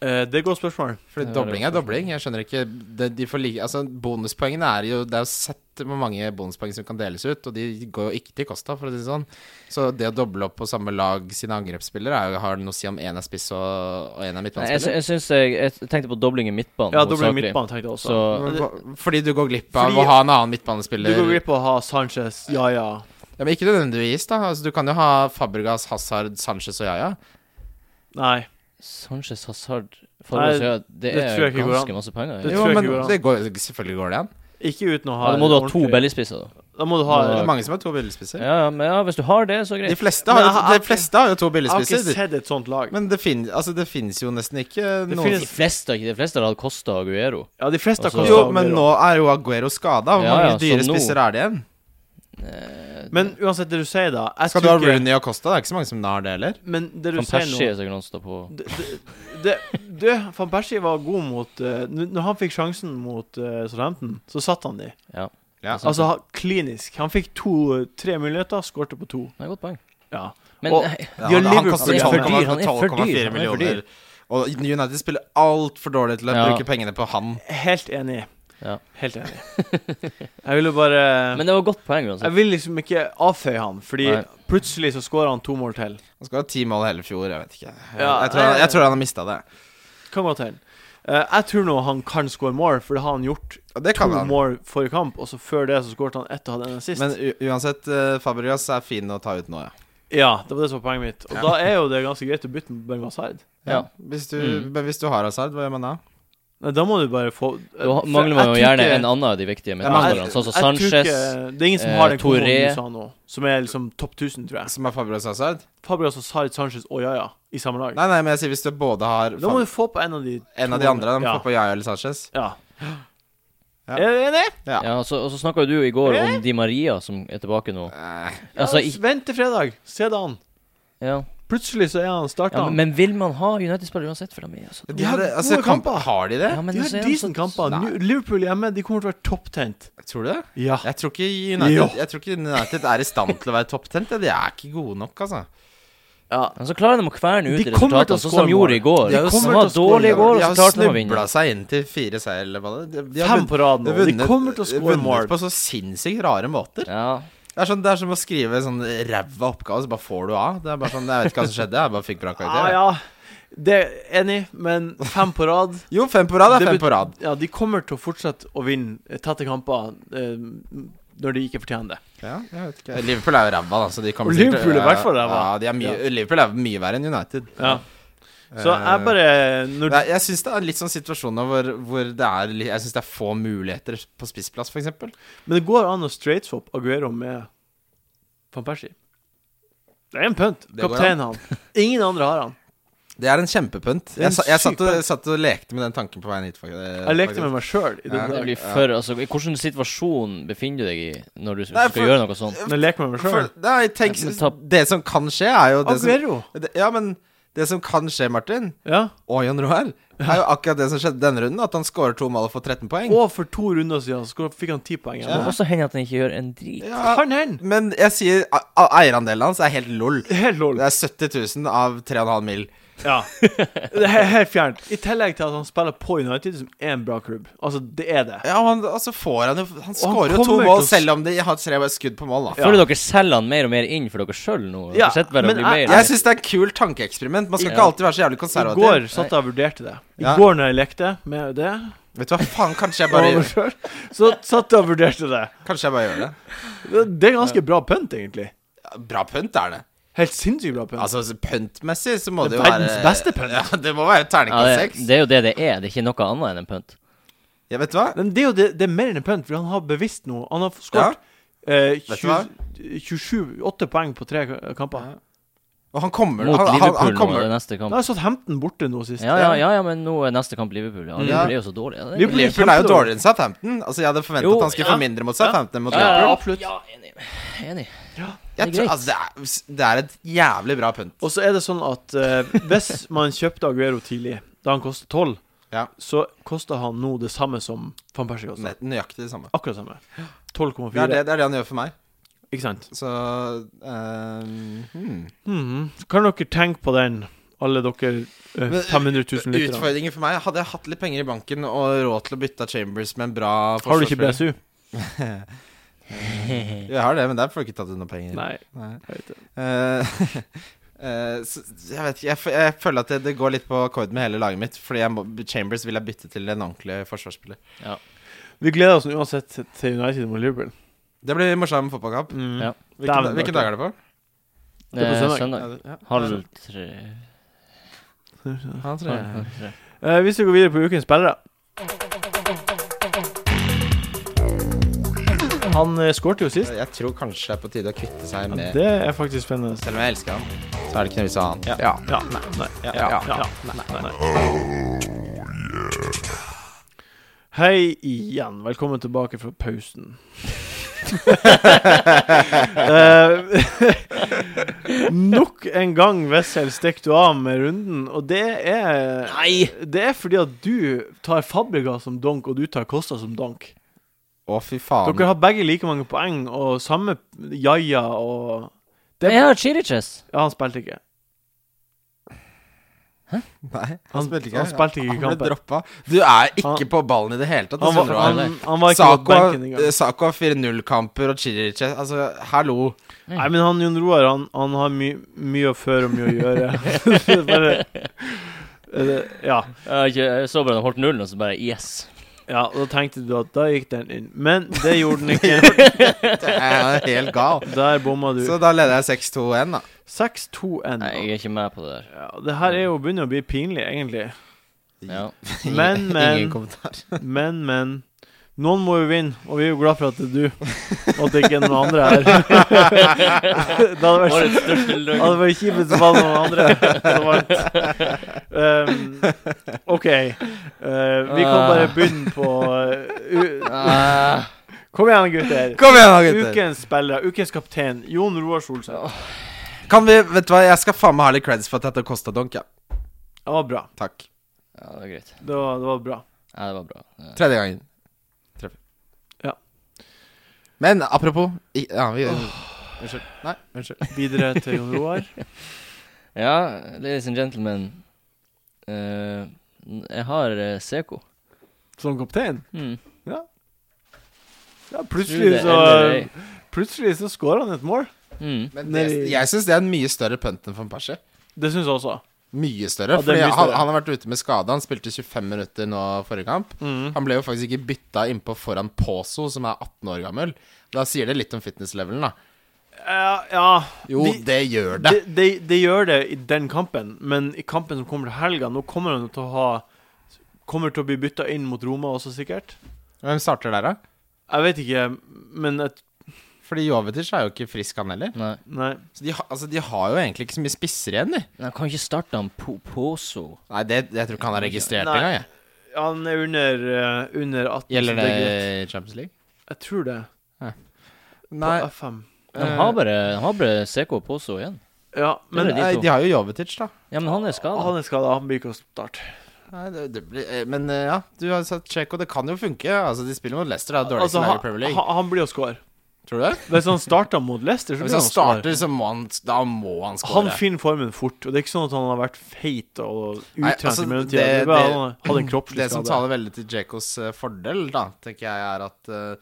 S1: Eh, det er et godt spørsmål.
S2: Fordi
S3: Det er
S2: dobling er
S3: veldig godt
S2: dobling. Jeg skjønner ikke det, de får like, altså, Bonuspoengene er jo Det er jo sett hvor mange bonuspoeng som kan deles ut, og de går jo ikke til Costa, for å si det sånn. Så det å doble opp på samme lag sine angrepsspillere er jo, har det noe å si om én er spiss og, og én er
S3: Nei, jeg, sy-
S2: midtbanespiller?
S3: jeg syns jeg, jeg tenkte på dobling i midtbanen.
S1: Ja, dobling
S3: hovedsakelig.
S1: midtbanen, tenkte jeg også.
S3: Så
S2: Men hva- Fordi du går glipp av
S1: Fordi-
S2: å ha en annen
S1: du
S2: midtbanespiller
S1: går glipp av å ha Sanchez, ja ja.
S2: Ja, men Ikke nødvendigvis, da. Altså, du kan jo ha Fabregas, Hazard, Sanchez og Yaya.
S1: Nei.
S3: Sanchez Hazard Fabregas,
S1: Nei,
S3: ja, det,
S1: det tror
S3: er
S1: jeg ikke går
S3: ganske
S1: an.
S3: masse penger.
S1: Det
S3: Ja.
S2: jo,
S1: tror jeg
S2: men
S1: ikke går an.
S2: det går, selvfølgelig går det an.
S1: Ikke uten å ha
S3: Ja, da må du ha to
S1: ordentlig-
S3: bellispisser, da.
S1: Da må du ha
S2: Det
S3: Ja.
S2: er mange som har to billedspisser.
S3: Ja, ja, men ja, hvis du har det, så
S2: De
S3: greit.
S2: fleste har,
S1: Eh, Men jeg har-
S2: jo- de fleste har jo to
S1: Jeg har ikke
S2: billespisser.
S1: sett et sånt lag.
S2: Men det, fin, altså, det finnes jo nesten ikke noen
S1: finnes-
S3: De fleste har ikke De fleste har hatt Costa og Aguero.
S1: Ja, de fleste har
S3: Altså-
S1: Costa
S2: Jo,
S1: og
S2: men
S1: Aguero.
S2: nå er jo Aguero skada. Hvor
S3: Ja,
S2: mange
S3: ja, så
S2: dyre
S3: nå-
S2: spisser er det igjen?
S3: Eh,
S1: Men uansett det du sier, da jeg
S2: Skal du ha
S1: tror ikke-
S2: Rooney og Costa? Det er ikke så mange som har det heller.
S1: Men det du
S3: Van
S1: sier
S3: Persie
S1: nå
S3: er sikkert han står på.
S1: det, det, Du, van Persie var god mot eh, n- Når han fikk sjansen mot uh, Southampton, så satt han de.
S2: Ja.
S3: Så-
S1: Altså ha- klinisk. Han fikk to, tre muligheter, skårte på to.
S3: Det er et godt poeng.
S1: Ja.
S3: Men
S1: Og-
S3: eh,
S1: De har
S2: han, han
S1: Liverpool-
S2: koster
S1: Han er for dyr,
S3: han er for dyr,
S2: 12,4
S3: han er for dyr.
S2: millioner. Og United spiller altfor dårlig til å
S3: Ja.
S2: bruke pengene på han.
S1: Helt enig.
S3: Ja.
S1: Helt enig. Jeg ville bare
S3: Men det var et godt poeng uansett.
S1: Jeg vil liksom ikke avføye han, fordi
S3: Altså- Nei.
S1: plutselig så skårer han to mål til.
S2: Han skal ha ti mål hele fjor, jeg vet ikke. Jeg,
S1: Ja, eh,
S2: tror, han,
S1: nei,
S2: jeg tror han har mista det.
S1: Kan godt hende. Eh, jeg tror nå han kan score more, for det har han gjort
S2: Og det
S1: to
S2: kan han.
S1: mål forrige kamp, og så før det så skåret han ett og hadde en assist.
S2: Men u uansett, eh, Fabregas er fin å ta ut nå, ja.
S1: Ja, det var det som var poenget mitt. Og da er jo det ganske greit å bytte med Benga Sard.
S3: Ja.
S2: Hvis du,
S3: Mm.
S2: Men hvis du har Hazard, hva gjør man da?
S1: Nei, da må du bare få
S3: Da mangler man jo gjerne en annen av de viktige midtbanespillerne, sånn som Sanchez.
S1: Det er ingen som har
S3: eh,
S1: den komboen
S3: Touré.
S1: du sa nå, som er liksom topp 1000, tror jeg.
S2: Som er Fabio Hazard?
S1: Fabregas og Zaid Sanchez og Yaya i samme lag.
S2: Nei, nei, men jeg sier hvis du både har
S1: Da må
S2: Fab-
S1: du få på en av de
S2: en av de
S1: to.
S2: andre, da må du
S1: ja.
S2: få på Yaya eller Sanchez.
S1: Ja.
S2: Ja.
S1: Er du enig?
S3: Ja, og så, og så snakka jo du i går om Di Maria, som er tilbake nå.
S2: Eh,
S3: Altså,
S1: Eh? Ja,
S3: i,
S1: Vent til fredag. Se det an.
S3: ja.
S1: Plutselig så er han starta.
S3: ja men, men vil man ha United-spillere uansett? For de er altså
S1: De har
S2: det- altså,
S1: gode
S2: kamp-
S1: kamper.
S2: Har de det?
S3: ja, men
S1: de
S3: så
S1: har
S3: er de så-
S1: decent kamper.
S2: Nei.
S1: Nu- Liverpool hjemme, de kommer til å være topptent.
S2: Tror du det?
S1: Ja.
S2: Jeg tror ikke United,
S1: Jo.
S2: jeg tror ikke United er i stand til å være topptent. ja. De er ikke gode nok, altså.
S1: ja.
S3: Men så klarer de å kverne ut
S1: De
S3: i
S1: kommer til å
S3: resultatene, sånn som
S1: score
S3: de gjorde i
S1: mål.
S3: går.
S1: De
S3: De,
S1: kommer
S3: var
S1: til å score
S3: dårlige i
S1: mål.
S3: går,
S2: De
S3: og
S2: har
S3: så klarte de å vinne.
S2: snubla seg inn til fire seier, eller hva det er. De, de har
S1: Fem på rad nå. De
S2: vunnet-
S1: kommer til å score
S2: vunnet
S1: mål.
S2: på så sinnssykt rare måter.
S3: Ja.
S2: Det er, sånn, det er som å skrive sånn ræva oppgave, så bare får du A. Det er bare sånn, Jeg vet ikke hva som skjedde, jeg bare fikk bra
S1: Ja,
S2: karakter. jeg.
S1: Ah, ja. Det er enig, men fem på rad
S2: Jo, fem på rad
S1: Det
S2: er fem
S1: bet-
S2: på rad.
S1: Ja, de kommer til å fortsette å vinne eh, tette kamper eh, når de ikke fortjener det.
S2: Ja, jeg vet ikke. Liverpool er jo ræva, da. Så de kommer
S1: Og
S2: sikkert-
S1: Liverpool er i hvert fall ræva.
S2: Ja, de er mye, Liverpool er mye verre enn United.
S1: Ja. Så jeg bare når,
S2: Eh, Nei, jeg syns det er litt sånn situasjoner hvor, hvor det er li- Jeg synes det er få muligheter på spissplass, f.eks.
S1: Men det går an å straightswap Aguero med van Persie. Det er en pønt.
S2: Det går
S1: Kaptein han. Ingen andre har han.
S2: Det er en kjempepynt.
S1: Det er en
S2: Jeg, sa- jeg
S1: syk
S2: satt, og,
S1: pynt.
S2: satt og lekte med den tanken på veien hit. fak- eh,
S1: Jeg lekte
S2: faktisk.
S1: med meg sjøl i
S2: Ja.
S1: den
S3: Det
S1: dag.
S3: blir for, altså, I hvilken situasjon befinner du deg i når du skal
S2: Nei, for-
S3: gjøre noe sånt?
S1: Men jeg leker med meg
S2: For,
S1: sjøl.
S2: nei, tenk,
S3: Ja, men ta-
S2: det som kan skje, er jo det som,
S1: Aguero.
S2: det, Ja, men det som kan skje, Martin,
S1: Ja.
S2: og Jan Roar, er jo akkurat det som skjedde denne runden. At han scorer to mål og får 13 poeng.
S1: Og for to runder siden så fikk han ti poeng.
S3: Det
S1: Ja.
S3: kan også hende at han ikke gjør en drit.
S2: Ja,
S1: Kan hende.
S2: men jeg sier a- a- eierandelen hans er helt lol.
S1: Helt lol.
S2: Det er 70 000 av 3,5 mil.
S1: Ja. Det er helt fjernt. I tillegg til at han spiller på United, som er en bra klubb. Altså, det er det.
S2: Ja, og han, altså får han jo Han scorer
S1: kommer
S2: jo to
S1: til
S2: mål,
S1: å s-
S2: selv om de har tre skudd på mål, da.
S1: Ja.
S3: Føler dere selger han mer og mer inn for dere sjøl nå?
S1: Ja,
S3: Dere sitter bare
S1: men
S3: og blir
S1: jeg-
S3: mer
S2: Jeg syns det er et kult tankeeksperiment. Man skal
S3: Ja.
S2: ikke alltid være så jævlig
S1: I
S2: konservativ.
S1: går satt jeg og vurderte det. I
S2: Ja.
S1: går når jeg lekte med det,
S2: Vet du hva, faen, kanskje jeg
S1: og
S2: bare,
S1: meg selv, så satt jeg og vurderte det.
S2: kanskje jeg bare gjør det.
S1: Det det er ganske bra pønt, egentlig.
S2: Ja, Bra pynt er det.
S1: Helt sinnssykt bra pønt.
S2: Altså så pyntmessig så må
S1: Det
S2: det,
S1: er
S2: jo være
S1: verdens beste pynt.
S2: Ja, det må være
S3: ja,
S2: terningkast
S3: det,
S2: seks.
S3: det er jo det det er, det er ikke noe annet enn en pynt.
S2: Ja, vet du hva?
S1: Men det er jo det, det er mer enn en pønt, for han har bevisst noe. Han har skåret eh,
S2: Vet du
S1: 20 27-8 poeng på tre k- kamper.
S2: Ja. Og han kommer
S3: Mot
S2: han, han,
S3: Liverpool
S2: han kommer,
S3: nå, det er neste
S1: Da
S3: kamp.
S1: har jeg satt Hampton borte nå sist.
S3: Ja, ja, ja, ja, men nå er neste kamp Liverpool. Ja,
S2: Ja.
S3: Liverpool er jo så dårlig. Ja, det er-
S1: Liverpool-
S2: Liverpool er jo
S1: kjempedårlig.
S2: dårligere enn Southampton. Altså, jeg hadde forventet
S3: Jo,
S2: at han skulle
S1: ja.
S2: få mindre mot Southampton enn mot
S3: Ja, ja, ja,
S2: Liverpool.
S1: absolutt.
S3: Ja, enig. enig.
S2: Jeg
S3: det er
S2: tror, altså, det, er, det er et jævlig bra pynt.
S1: Og så er det sånn at eh, hvis man kjøpte Aguero tidlig, da han kostet 12,
S2: Ja.
S1: så koster han nå det samme som van Persie kostet.
S2: Nett- Nøyaktig det samme.
S1: Akkurat samme.
S2: Det er
S1: 12,4.
S2: det, det er det han gjør for meg.
S1: Ikke sant?
S2: Så eh, hmm.
S1: Mhm. Så Kan dere tenke på den, alle dere eh,
S2: Men,
S1: 500 000 lytterne?
S2: Utfordringen for meg Hadde jeg hatt litt penger i banken og råd til å bytte av Chambers med en
S1: Har
S2: bra
S1: du ikke
S2: forsvarsspiller-
S1: BSU?
S2: Jo, Jeg har det, men der får du ikke tatt ut noen penger.
S1: Nei.
S2: Nei.
S1: Jeg vet det.
S2: Eh, eh, så, jeg vet ikke jeg, f jeg føler at det, det går litt på akkord med hele laget mitt. Fordi jeg må, Chambers vil jeg bytte til en ordentlig forsvarsspiller.
S1: Vi gleder oss nå uansett til United mot Liverpool.
S2: Det blir morsom fotballkamp.
S1: Mm.
S3: Ja.
S2: Hvilken,
S1: Dæven,
S2: hvilken dag er det på?
S1: Det er på
S3: Eh,
S1: søndag.
S3: søndag.
S2: Ja,
S3: Halv tre
S2: han tror jeg.
S3: halv tre.
S1: Eh, hvis vi går videre på ukens spillere Han
S3: eh,
S1: uh, skårte jo sist.
S2: jeg tror kanskje det er på tide å kvitte seg
S1: Ja,
S2: med
S1: det er faktisk spennende.
S2: Selv om jeg elsker han, så er det ikke noe vits å ha han.
S1: Ja. Ja. Nei. Nei.
S2: Ja,
S1: Ja.
S2: ja,
S1: ja. Nei. Nei. Hei igjen. Velkommen tilbake fra pausen. Eh, nok en gang, Wessel, stikker du av med runden, og det er
S3: Nei!
S1: Det er fordi at du tar Fabrika som donk, og du tar Kosta som donk.
S2: Å, fy faen.
S1: Dere har begge like mange poeng, og samme Jaja og Det-
S3: Men jeg har Chiliches.
S1: Ja, han spilte ikke.
S2: Nei, han,
S1: Han-
S2: spilte ikke.
S1: han spilte ikke i
S2: han
S1: kampen.
S2: ble droppa. Du er ikke
S1: Han-
S2: på ballen i det hele tatt.
S1: Han,
S2: altså,
S1: var-
S2: Roar.
S1: han, han var ikke på
S2: Sako
S1: benken engang.
S2: Sako har 4-0-kamper og Chiriche Altså, hallo.
S3: Mm.
S1: Nei, men han Jon Roar, han, han har my mye å føre og mye å gjøre. Det er bare, Eh, ja.
S3: Jeg, jeg så bare de holdt nullen, og så bare yes.
S1: ja, og da tenkte du at da gikk den inn. Men det gjorde den ikke.
S2: Jeg er helt gal.
S1: Der bomma du.
S2: Så da leder jeg 6-2-1, da.
S1: 6-2-1.
S3: Nei, jeg er ikke med på det der.
S1: Ja, det her er jo begynner å bli pinlig, egentlig.
S3: Ja.
S1: Men, men.
S2: Ingen kommentar.
S1: Men, men. Noen må jo vinne, og vi er jo glad for at det er du, og at det ikke er noen andre her. det hadde vært
S3: Årets største
S1: det
S3: løgn.
S1: hadde vært kjipt hvis det var noen andre som vant. Um, OK. Uh, vi kan bare begynne på uh, u
S2: Ah.
S1: Kom igjen, gutter.
S2: Kom igjen, da, gutter.
S1: Ukens spiller, ukens kaptein, Jon Roar Solseth.
S2: Kan vi, vet du hva, Jeg skal faen meg ha litt creds for at dette kosta donk. Ja.
S1: Det var bra.
S2: Takk.
S3: Ja, det var greit.
S1: Det var, det var bra.
S3: Ja, det var bra. Ja.
S2: Tredje gangen. Treffer.
S1: Ja.
S2: Men apropos i, ja, vi, Unnskyld. Nei, unnskyld.
S1: Videre til Jon Roar.
S3: ja, ladies and gentlemen. Eh, n- jeg har eh, Seko.
S1: Som kaptein?
S3: Hmm.
S1: Ja,
S3: Tro det
S1: plutselig så
S3: eller ei.
S1: Plutselig så scorer han et mål.
S3: Hmm.
S2: Men det,
S1: Nei.
S2: jeg syns det er en mye større punt enn van Persie.
S1: Det syns jeg også.
S2: Mye
S1: Ja,
S2: større.
S1: det er
S2: fordi
S1: mye
S2: Han,
S1: større.
S2: han har vært ute med skade. Han spilte 25 minutter nå forrige kamp.
S1: Mm.
S2: Han ble jo faktisk ikke bytta innpå foran Poso, som er 18 år gammel. Da sier det litt om fitness-levelen, da.
S1: Ja, ja.
S2: Jo,
S1: De-
S2: det gjør det.
S1: Det, det, det gjør det i den kampen, men i kampen som kommer til helga Nå kommer han til å ha Kommer til å bli bytta inn mot Roma også, sikkert.
S2: Hvem starter der, da?
S1: Jeg vet ikke, men et,
S2: Fordi Jovetic er jo ikke frisk, han heller.
S3: Nei.
S1: Nei.
S2: Så de, ha- altså, de har jo egentlig ikke så mye spisser igjen, de.
S3: Nei, Jeg kan ikke starte han på Poso.
S2: Nei, det, jeg tror ikke han er registrert
S1: Nei.
S2: engang. jeg.
S1: Han er under, eh, under 18,
S2: Gjelder
S1: så
S2: det
S1: det er greit.
S2: i Champions League?
S1: Jeg tror det.
S2: Nei,
S1: På F5.
S3: De har bare, de har bare Seko og Poso igjen.
S1: Ja, men
S3: det de
S2: nei,
S3: to.
S2: eh, de har jo Jovetic, da.
S3: Ja, men han er skada.
S1: han er skada. Han blir ikke å starte.
S2: Nei, det, det blir, eh, men eh, ja, du har sagt Tsjekko. Det kan jo funke. Altså, De spiller mot Leicester, da. Dårligste
S1: Altså,
S2: lag i
S1: han,
S2: Premier League.
S1: han, han blir å score.
S2: Tror du det?
S1: Hvis han starter mot Leicester, så
S2: Hvis
S1: blir
S2: han
S1: han å score.
S2: starter, så må han Da må han
S1: Han
S2: skåre.
S1: finner formen fort, og det er ikke sånn at han har vært feit og
S2: Nei,
S1: utrent
S2: altså,
S1: i mellomtida.
S2: det-
S1: Det er bare han
S2: det-
S1: har hatt en
S2: Det
S1: kroppslig
S2: som
S1: skade.
S2: taler veldig til Djekos eh, fordel, da, tenker jeg, er at eh,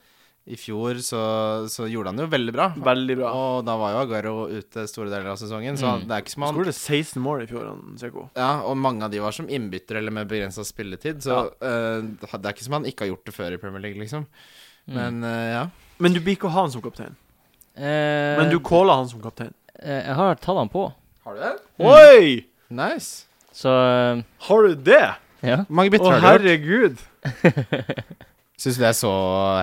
S2: i fjor så, så gjorde han det jo veldig bra.
S1: Veldig bra.
S2: Og da var jo Aguero ute store deler av sesongen, så
S3: Mm.
S2: det er ikke som
S1: Han
S2: han
S1: skåret 16 mål i fjor, han Seko.
S2: ja, Og mange av de var som innbyttere eller med begrensa spilletid, så eh, det er ikke som han ikke har gjort det før i Premier League, liksom. Men eh, ja.
S1: Men du blir ikke å ha han som kaptein.
S3: Eh,
S1: Men du calla han som kaptein.
S3: eh, Jeg har tatt han på.
S2: Har du det?
S1: Oi!
S2: Nice.
S3: Så eh,
S1: Har du det?
S3: ja.
S2: Hvor mange
S1: Å,
S2: bytter har du gjort?
S1: herregud.
S2: Syns du det er så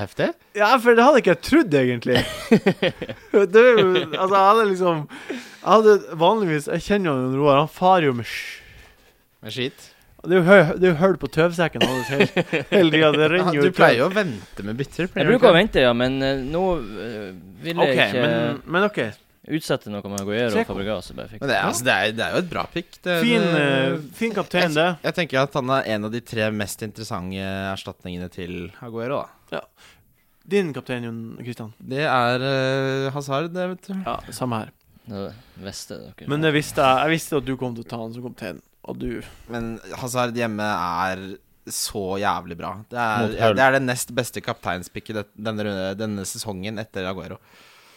S2: heftig?
S1: Ja, for det hadde ikke jeg trodd, egentlig. det er jo Altså, jeg hadde liksom Jeg hadde vanligvis Jeg kjenner jo Jon Roar. Han farer jo med sj...
S2: Med skit?
S1: Det er jo hø- det er jo hull på tøvsekken hans hele, hele tida. Det renner jo
S2: du
S1: ut
S2: pleier jo å vente med bytter.
S3: Jeg bruker å vente, ja, men eh, nå eh, vil jeg
S1: OK,
S3: ikke
S1: men, men OK.
S3: utsette noe med Aguero
S1: Se
S3: og
S1: hvor-
S3: Fabregas. Jeg bare fikk.
S2: Men det er, altså, det, er, det er jo et bra pick. Det,
S1: Fin,
S2: det-
S1: eh, fin kaptein, det.
S2: Jeg tenker at han er en av de tre mest interessante erstatningene til Aguero. da
S1: Din kaptein, Jon Kristian.
S2: Det er eh, Hazard, det, vet du.
S1: Ja, samme her.
S3: Det visste dere.
S1: Men det visste jeg. Jeg visste at du kom til å ta han som kaptein, og du
S2: Men Hazard hjemme er så jævlig bra. Det er,
S3: Mot
S2: ja,
S3: Hull.
S2: det er det nest beste kapteinspicket det- denne, runde- denne sesongen etter Aguero.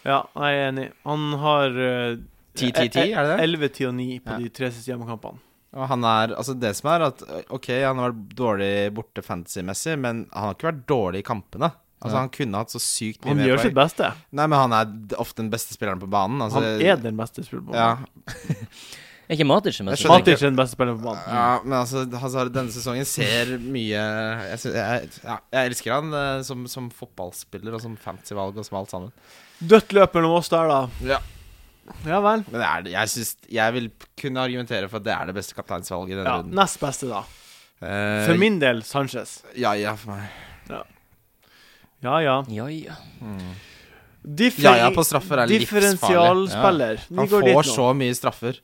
S1: Ja, jeg er enig. Han har eh,
S2: 10-10-10, er det det?
S1: 11, 10 og 9 på
S2: Ja.
S1: de tre siste hjemmekampene.
S2: Og han er, altså Det som er at eh, Ok, han har vært dårlig borte fantasy-messig, men han har ikke vært dårlig i kampene. Altså
S3: Nei.
S2: Han kunne hatt så sykt mye
S1: Han
S2: mer
S1: gjør sitt
S2: poeng.
S1: beste.
S2: Nei, men han er d- ofte den beste spilleren på banen. Altså,
S1: Han er den beste spilleren på
S2: ja,
S1: banen.
S3: Er ikke Matic den beste?
S2: Jeg skjønner
S1: Matic er den beste spilleren på banen.
S2: Ja, men altså, Hazard denne sesongen ser mye Jeg, sy- jeg, ja, jeg elsker han eh, som, som fotballspiller og som fancyvalg og som alt sammen.
S1: Dødt løp mellom oss der, da. Ja vel.
S2: Men det er, det- jeg, synes, jeg vil kunne argumentere for at det er det beste kapteinsvalget i denne
S1: Ja,
S2: runden.
S1: nest beste, da.
S2: Eh,
S1: For min del Sanchez.
S2: Ja, ja, for meg.
S1: Ja ja.
S3: Ja, ja.
S1: Differ
S2: Ja, ja, på straffer er livsfarlig. Ja.
S1: differensialspiller. Vi
S2: Han
S1: går dit
S2: får
S1: nå.
S2: så mye straffer.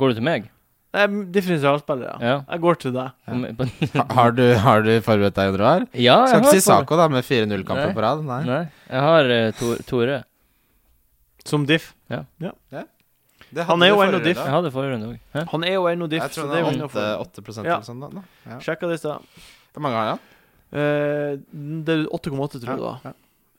S3: Går du til meg?
S1: Nei, differensialspiller, ja.
S3: Ja.
S1: Jeg går til deg.
S3: På me- på-
S2: Ha- Har du, har du forberedt deg, Roar?
S3: ja jeg
S2: Skal
S3: har
S2: ikke si
S3: Fabre-
S2: Sako, da, med 4-0-kamper
S3: Nei.
S2: på rad. Nei.
S3: Nei, jeg har eh, Tor- Tore.
S1: Som diff.
S2: Det
S1: Han er
S2: hadde du
S1: jo en
S2: forrige
S1: av diff.
S2: runde.
S3: Jeg hadde forrige runde òg.
S1: Han er jo ennå diff,
S2: Jeg
S1: så
S2: tror
S1: det er jo
S2: han
S1: innafor.
S2: har 8, 8
S1: Ja.
S2: eller sånn. da, nå. Ja.
S1: Sjekka det i stad.
S2: Hvor mange har han?
S1: Eh, det er 8,8, tror jeg det var.
S2: Ja.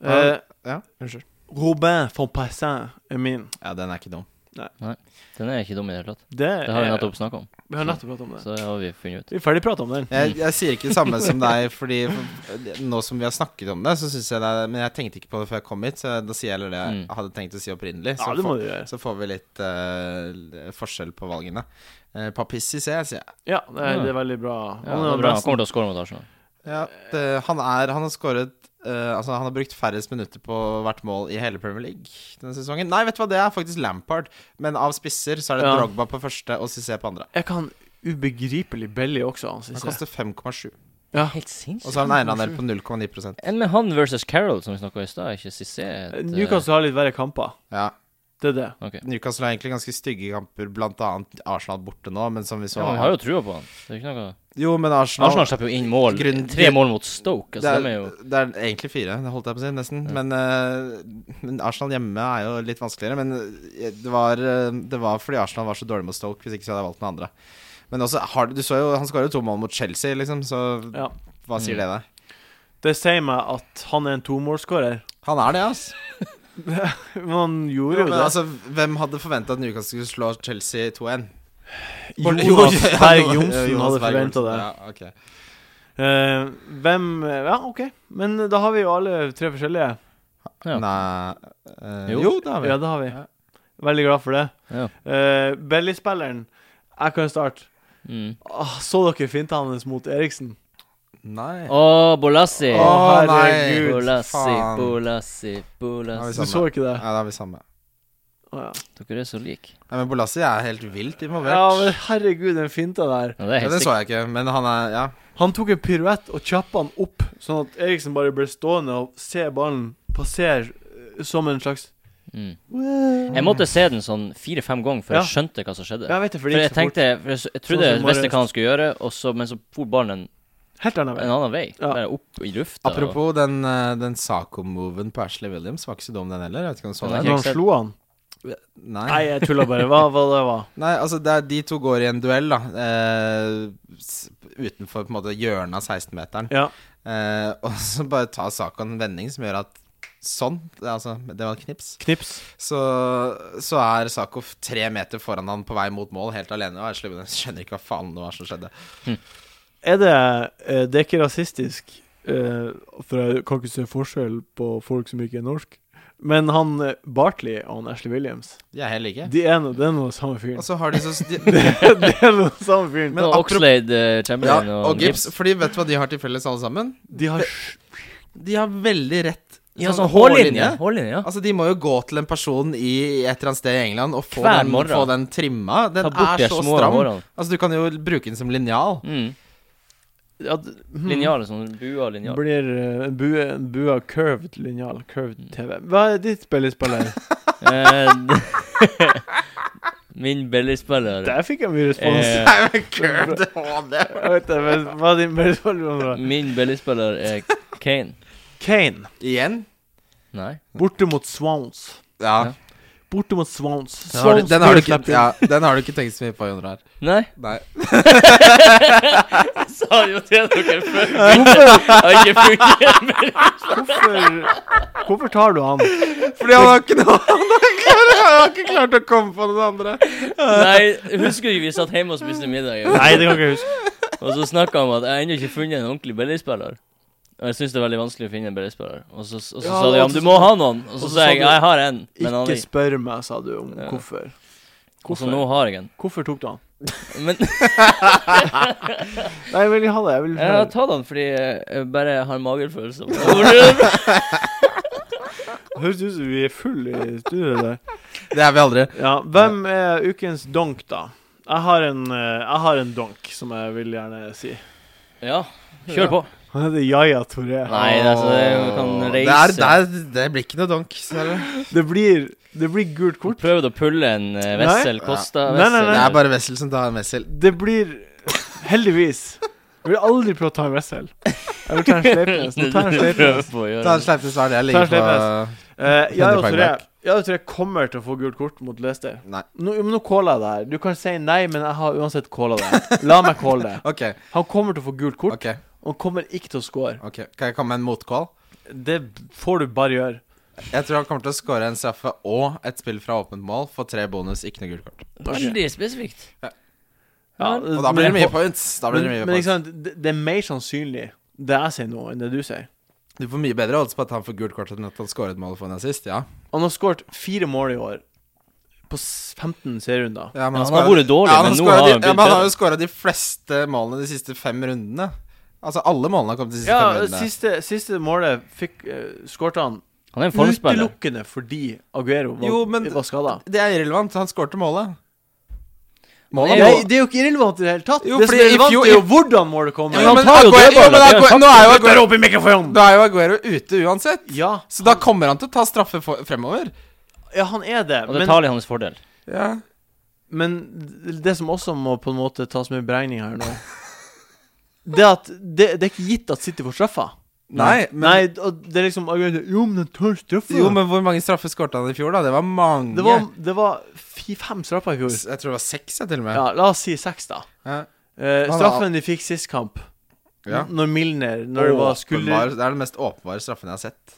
S1: Eh,
S2: Ja, unnskyld.
S1: Robin von Persin er min.
S2: Ja, den er ikke dum.
S3: Den er ikke dum i det hele tatt.
S1: Det,
S3: Det har vi
S1: er-
S3: nettopp snakka om.
S1: Vi har nettopp pratet om det.
S3: Så har vi funnet ut.
S1: Vi er ferdigprata om den.
S2: Jeg, jeg sier ikke det samme som deg, Fordi nå som vi har snakket om det, så syns jeg det er Men jeg tenkte ikke på det før jeg kom hit, så da sier jeg heller det jeg
S3: Mm.
S2: hadde tenkt å si opprinnelig. Så,
S1: Ja, det
S2: får,
S1: må du gjøre.
S2: så får vi litt eh, forskjell på valgene. Uh, Papissi C, sier jeg.
S1: Ja, det er, det er veldig bra.
S3: Ja,
S1: Han
S3: det
S1: er
S3: er bra. Han
S1: nesten-
S3: kommer til å score mot Arsenal.
S2: Ja, det, han, er, han har skåret eh, Altså, han har brukt færrest minutter på hvert mål i hele Premier League denne sesongen. Nei, vet du hva, det er faktisk Lampard. Men av spisser så er det
S1: Ja.
S2: Drogba på første og Cissé på andre.
S1: Jeg kan ubegripelig billig også, han
S2: Han
S1: synes jeg.
S2: koster 5,7.
S1: Ja.
S3: Helt
S2: Og
S3: sinnssykt.
S2: så har han eierandel på 0,9
S3: Enn med han versus Carroll, som vi snakka i stad, er ikke Cissé et, eh,
S1: Newcastle har litt verre kamper.
S2: Ja.
S1: Det er det.
S3: ok.
S2: Newcastle har egentlig ganske stygge kamper, blant annet Arsenal borte nå, men som vi så
S3: Ja, men vi har jo trua på han. Det er ikke noe
S2: Jo, men Arsenal,
S3: Arsenal slipper jo inn mål.
S2: Grunnen-
S3: Tre mål mot Stoke.
S2: det,
S3: Altså, de er jo
S2: er, det er egentlig fire, det holdt jeg på å si, nesten. Men, eh, men Arsenal hjemme er jo litt vanskeligere. Men eh, det var, eh, det var fordi Arsenal var så dårlig mot Stoke, hvis ikke så hadde jeg valgt noen andre. Men også, har, du så jo, han skåra jo to mål mot Chelsea, liksom, så
S1: Ja.
S2: hva
S3: Mm.
S2: sier det deg?
S1: Det sier meg at han er en tomålsskårer.
S2: Han er det, altså.
S1: Men han gjorde jo
S2: Men
S1: det.
S2: altså, hvem hadde forventa at Newcastle skulle slå Chelsea 2-1?
S1: Jonas Berg Johnsen
S2: Jonas
S1: hadde
S2: Berg
S1: forventa
S2: Johnsen,
S1: det.
S2: Ja, ok
S1: Eh, hvem Ja, OK. Men da har vi jo alle tre forskjellige.
S3: Ja.
S2: Nei eh,
S3: Jo.
S2: jo. det har vi.
S1: Ja, det har vi.
S2: Ja.
S1: Veldig glad for det.
S3: ja.
S1: Uh, Belly-spilleren, jeg kan starte.
S3: mm.
S1: Ah, så dere finta hans mot Eriksen?
S2: Nei.
S3: Å, Bolassi!
S1: Å,
S2: Å, nei,
S1: herregud.
S3: Bolassi,
S2: faen.
S3: Bolassi,
S2: Ja, vi
S3: Bolassi
S1: Du så ikke det?
S2: Ja, da er vi samme.
S1: Å, ja.
S3: Dere er så like.
S2: Nei, men Bolassi er helt vilt involvert.
S1: ja, men herregud, den finta der.
S3: Ja, det er
S2: Ja,
S3: helt
S2: det
S3: sikkert.
S2: så jeg ikke, men han er Ja.
S1: Han tok en piruett og kjappa han opp, sånn at Eriksen bare ble stående og se ballen passere eh, som en slags
S3: Mm.
S1: Jeg
S3: Jeg måtte se den sånn fire-fem ganger før
S1: Ja.
S3: jeg skjønte hva som skjedde.
S1: vet det, for
S3: For
S1: det
S3: jeg
S1: gikk så fort.
S3: tenkte for jeg, s- jeg trodde
S1: Sånn som
S3: jeg visste
S1: bare-
S3: hva han skulle gjøre, og så, men så for ballen en,
S1: Helt annen vei.
S3: en annen vei.
S1: Ja.
S3: Bare opp i lufta. og-
S2: Apropos den, eh, den Saco-moven på Ashley Williams, var ikke så dum den heller. Jeg vet ikke om du så
S1: Når
S3: Nei,
S2: den.
S3: ikke
S1: han
S3: sett.
S1: slo han Nei,
S2: Nei.
S1: jeg tulla bare. Hva var det var?
S2: Nei, altså det er de to går i en duell, da. Eh, s- utenfor på en måte hjørnet av 16-meteren.
S1: Ja.
S2: Eh, og så bare tar Saco en vending som gjør at Sånn. Det, er altså, det var et knips.
S1: Knips.
S2: Så, så er Saco f- tre meter foran han på vei mot mål, helt alene. Og Ashley Williams skjønner ikke hva faen det var som skjedde.
S1: Er det eh, Det er ikke rasistisk, eh, for jeg kan ikke se forskjell på folk som ikke er norsk. Men han eh, Bartley og han Ashley Williams,
S2: De er helt like.
S1: de er noe, det er noe samme
S2: Og
S1: fyren.
S2: så har de så de,
S1: det er noe samme fyren.
S2: men
S3: og
S2: apropos-
S3: Oxlade, eh, Chamberlain
S2: Ja,
S3: og,
S2: og Gibbs. Fordi vet du hva de har til felles, alle sammen?
S1: De har sj-
S2: De har veldig rett
S3: Ja, sånn hårlinje. hårlinje ja.
S2: Altså, De må jo gå til en person i et eller annet sted i England og få,
S3: Hver
S2: den,
S3: morgen.
S2: få den trimma. Den
S3: Ta bort de
S2: er så
S3: små
S2: stram.
S3: hårene.
S2: Altså, Du kan jo bruke den som linjal.
S3: Mm.
S1: ja, d- hmm.
S3: Linjal, sånn bua linjal.
S1: Blir eh, en bue, en bue av curved linjal. Curved TV. Hva er ditt spillespiller?
S3: Eh, Min bellyspiller
S1: Der fikk jeg mye respons.
S3: er
S2: Nei, men curved HD.
S1: Jeg vet det, men Hva er din spillespiller?
S3: Min bellyspiller er Kane.
S1: Kane.
S2: Igjen?
S3: Nei.
S1: Borte mot Swans.
S2: Ja.
S3: Ja.
S1: Borte mot Swans.
S2: Den, har du,
S1: Swans
S2: den, har du
S1: blir
S2: ikke,
S1: sluppet inn.
S2: ja, den har du ikke tenkt så mye på, Jon Rar.
S3: Nei?
S2: Nei.
S3: Jeg sa jo til dere før. Det har ikke fungert mer.
S1: Hvorfor, hvorfor tar du han?
S2: Fordi han har ikke noe Han har ikke, han har ikke klart å komme på noen andre.
S3: Nei, husker du vi satt hjemme og spiste middag,
S1: Nei, det kan jeg ikke huske.
S3: og så snakka han om at jeg har ennå ikke funnet en ordentlig bellyspiller. Og jeg syns det er veldig vanskelig å finne en bellyspiller. Og så, og så
S1: Ja,
S3: sa de ja,
S1: og
S3: men
S1: så-
S3: du må ha noen. Og
S1: og så
S3: så sa
S1: sa
S3: jeg
S1: du,
S3: jeg har en, men han
S1: Ikke
S3: er
S1: spør meg, sa du, om
S3: Ja.
S1: hvorfor.
S3: Og så
S1: Hvorfor,
S3: nå har jeg en.
S1: hvorfor tok du han?
S3: Men
S1: Nei, jeg vil ikke ha det. Jeg vil
S3: jeg
S1: ikke ha
S3: har
S1: det.
S3: tatt han fordi jeg bare har en magefølelse.
S1: Høres ut som vi er full i studio der.
S2: Det er vi aldri.
S1: Ja, hvem er ukens donk, da? Jeg har en, eh, jeg har en donk, som jeg vil gjerne si.
S3: Ja, kjør på.
S1: Han heter Yaya Toré.
S3: Nei, altså, det kan
S2: Åh,
S3: reise.
S2: Det, er, det, er, det blir ikke noe donk. ser du.
S1: Det blir, det blir gult kort.
S3: Prøvde å pulle en eh,
S1: Nei.
S3: Wessel Costa.
S1: Nei, nei, nei.
S2: Det
S3: Wessel.
S2: er bare Wessel som tar en Wessel.
S1: Det blir Heldigvis. Jeg vil aldri prøve å ta en Wessel. Jeg vil ta en Sleipnes. Nå tar jeg en Sleipnes.
S3: Prøv på å
S2: Ta
S3: gjøre
S2: en sleipnes hver del.
S1: Ta en sleipnes. Eh, jeg,
S2: Hundre
S1: og
S2: poeng
S1: Toré,
S2: bak.
S1: jeg og Toré kommer til å få gult kort mot Leicester.
S2: Nei.
S1: Nå, men nå caller jeg det her. Du kan si nei, men jeg har uansett calla det. La meg calle det.
S2: Ok,
S1: Han kommer til å få gult kort,
S2: ok,
S1: og han kommer ikke til å score.
S2: ok. Kan jeg komme med en motkål?
S1: Det får du bare gjøre.
S2: Jeg tror han kommer til å skåre en straffe og et spill fra åpent mål. Få tre bonus, ikke noe gult kort.
S3: Veldig spesifikt.
S1: Ja,
S2: Og da blir det
S1: men-
S2: mye points. Da blir
S1: Men,
S2: det mye
S1: men ikke
S2: points.
S1: sant, det, det er mer sannsynlig det jeg sier nå, enn det du sier.
S2: Du får mye bedre odds på at han får gult kort enn at han skårer et mål og får en assist, ja.
S1: Han har skåret fire mål i år på s- 15 serierunder.
S3: Ja,
S2: Ja,
S3: han har vært dårlig,
S2: ja, han
S3: men nå
S2: scoret
S3: har
S2: de,
S3: han
S2: ja,
S3: blitt
S2: men han har
S3: bedre.
S2: jo skåra de fleste målene de siste fem rundene. Altså alle målene har kommet de siste fem
S1: Ja,
S2: rundene.
S1: siste, siste målet fikk uh, skårte han
S3: Han er en formspiller.
S1: utelukkende fordi Aguero var,
S2: Jo, men-
S1: var skada.
S2: Det er irrelevant. Han skårte målet.
S3: Nei,
S2: Målet
S1: Nei,
S2: var
S1: det er jo ikke irrelevant i det hele tatt.
S2: Jo,
S1: det som
S2: fordi
S1: er
S2: i
S1: relevant,
S2: fjor-
S1: er jo hvordan målet kommer.
S3: Jo,
S2: Ja, men
S3: han tar jo
S2: Aguero-
S3: dødballer,
S2: jo,
S3: det
S2: men
S3: er jo
S2: Aguero- nå er jo
S1: Dytter
S2: Aguero-
S1: opp i mikrofonen!
S2: Da er jo Aguero ute uansett.
S1: Ja,
S2: Så da kommer han til å ta straffe for, fremover.
S1: ja, han er det.
S3: Og det
S1: Men,
S3: taler i hans fordel.
S2: Ja.
S1: men det som også må på en måte tas med i beregning her nå, det er at det, det er ikke gitt at City får straffa.
S2: Nei, men,
S1: Nei, og det er liksom Aguero sier, Jo, men han tar straffa.
S2: Jo, men hvor mange straffer skårte han i fjor, da? Det var mange.
S1: Det var, det var fi- fem straffer i fjor.
S2: Jeg tror det var seks, jeg, til og med.
S1: Ja, la oss si seks, da.
S2: Ja.
S1: Eh,
S2: Han har-
S1: straffen de fikk sist kamp,
S2: Ja.
S1: n- når Milner Når det var
S2: Åpenbar-
S1: skulder
S2: Det er den mest åpenbare straffen jeg har sett.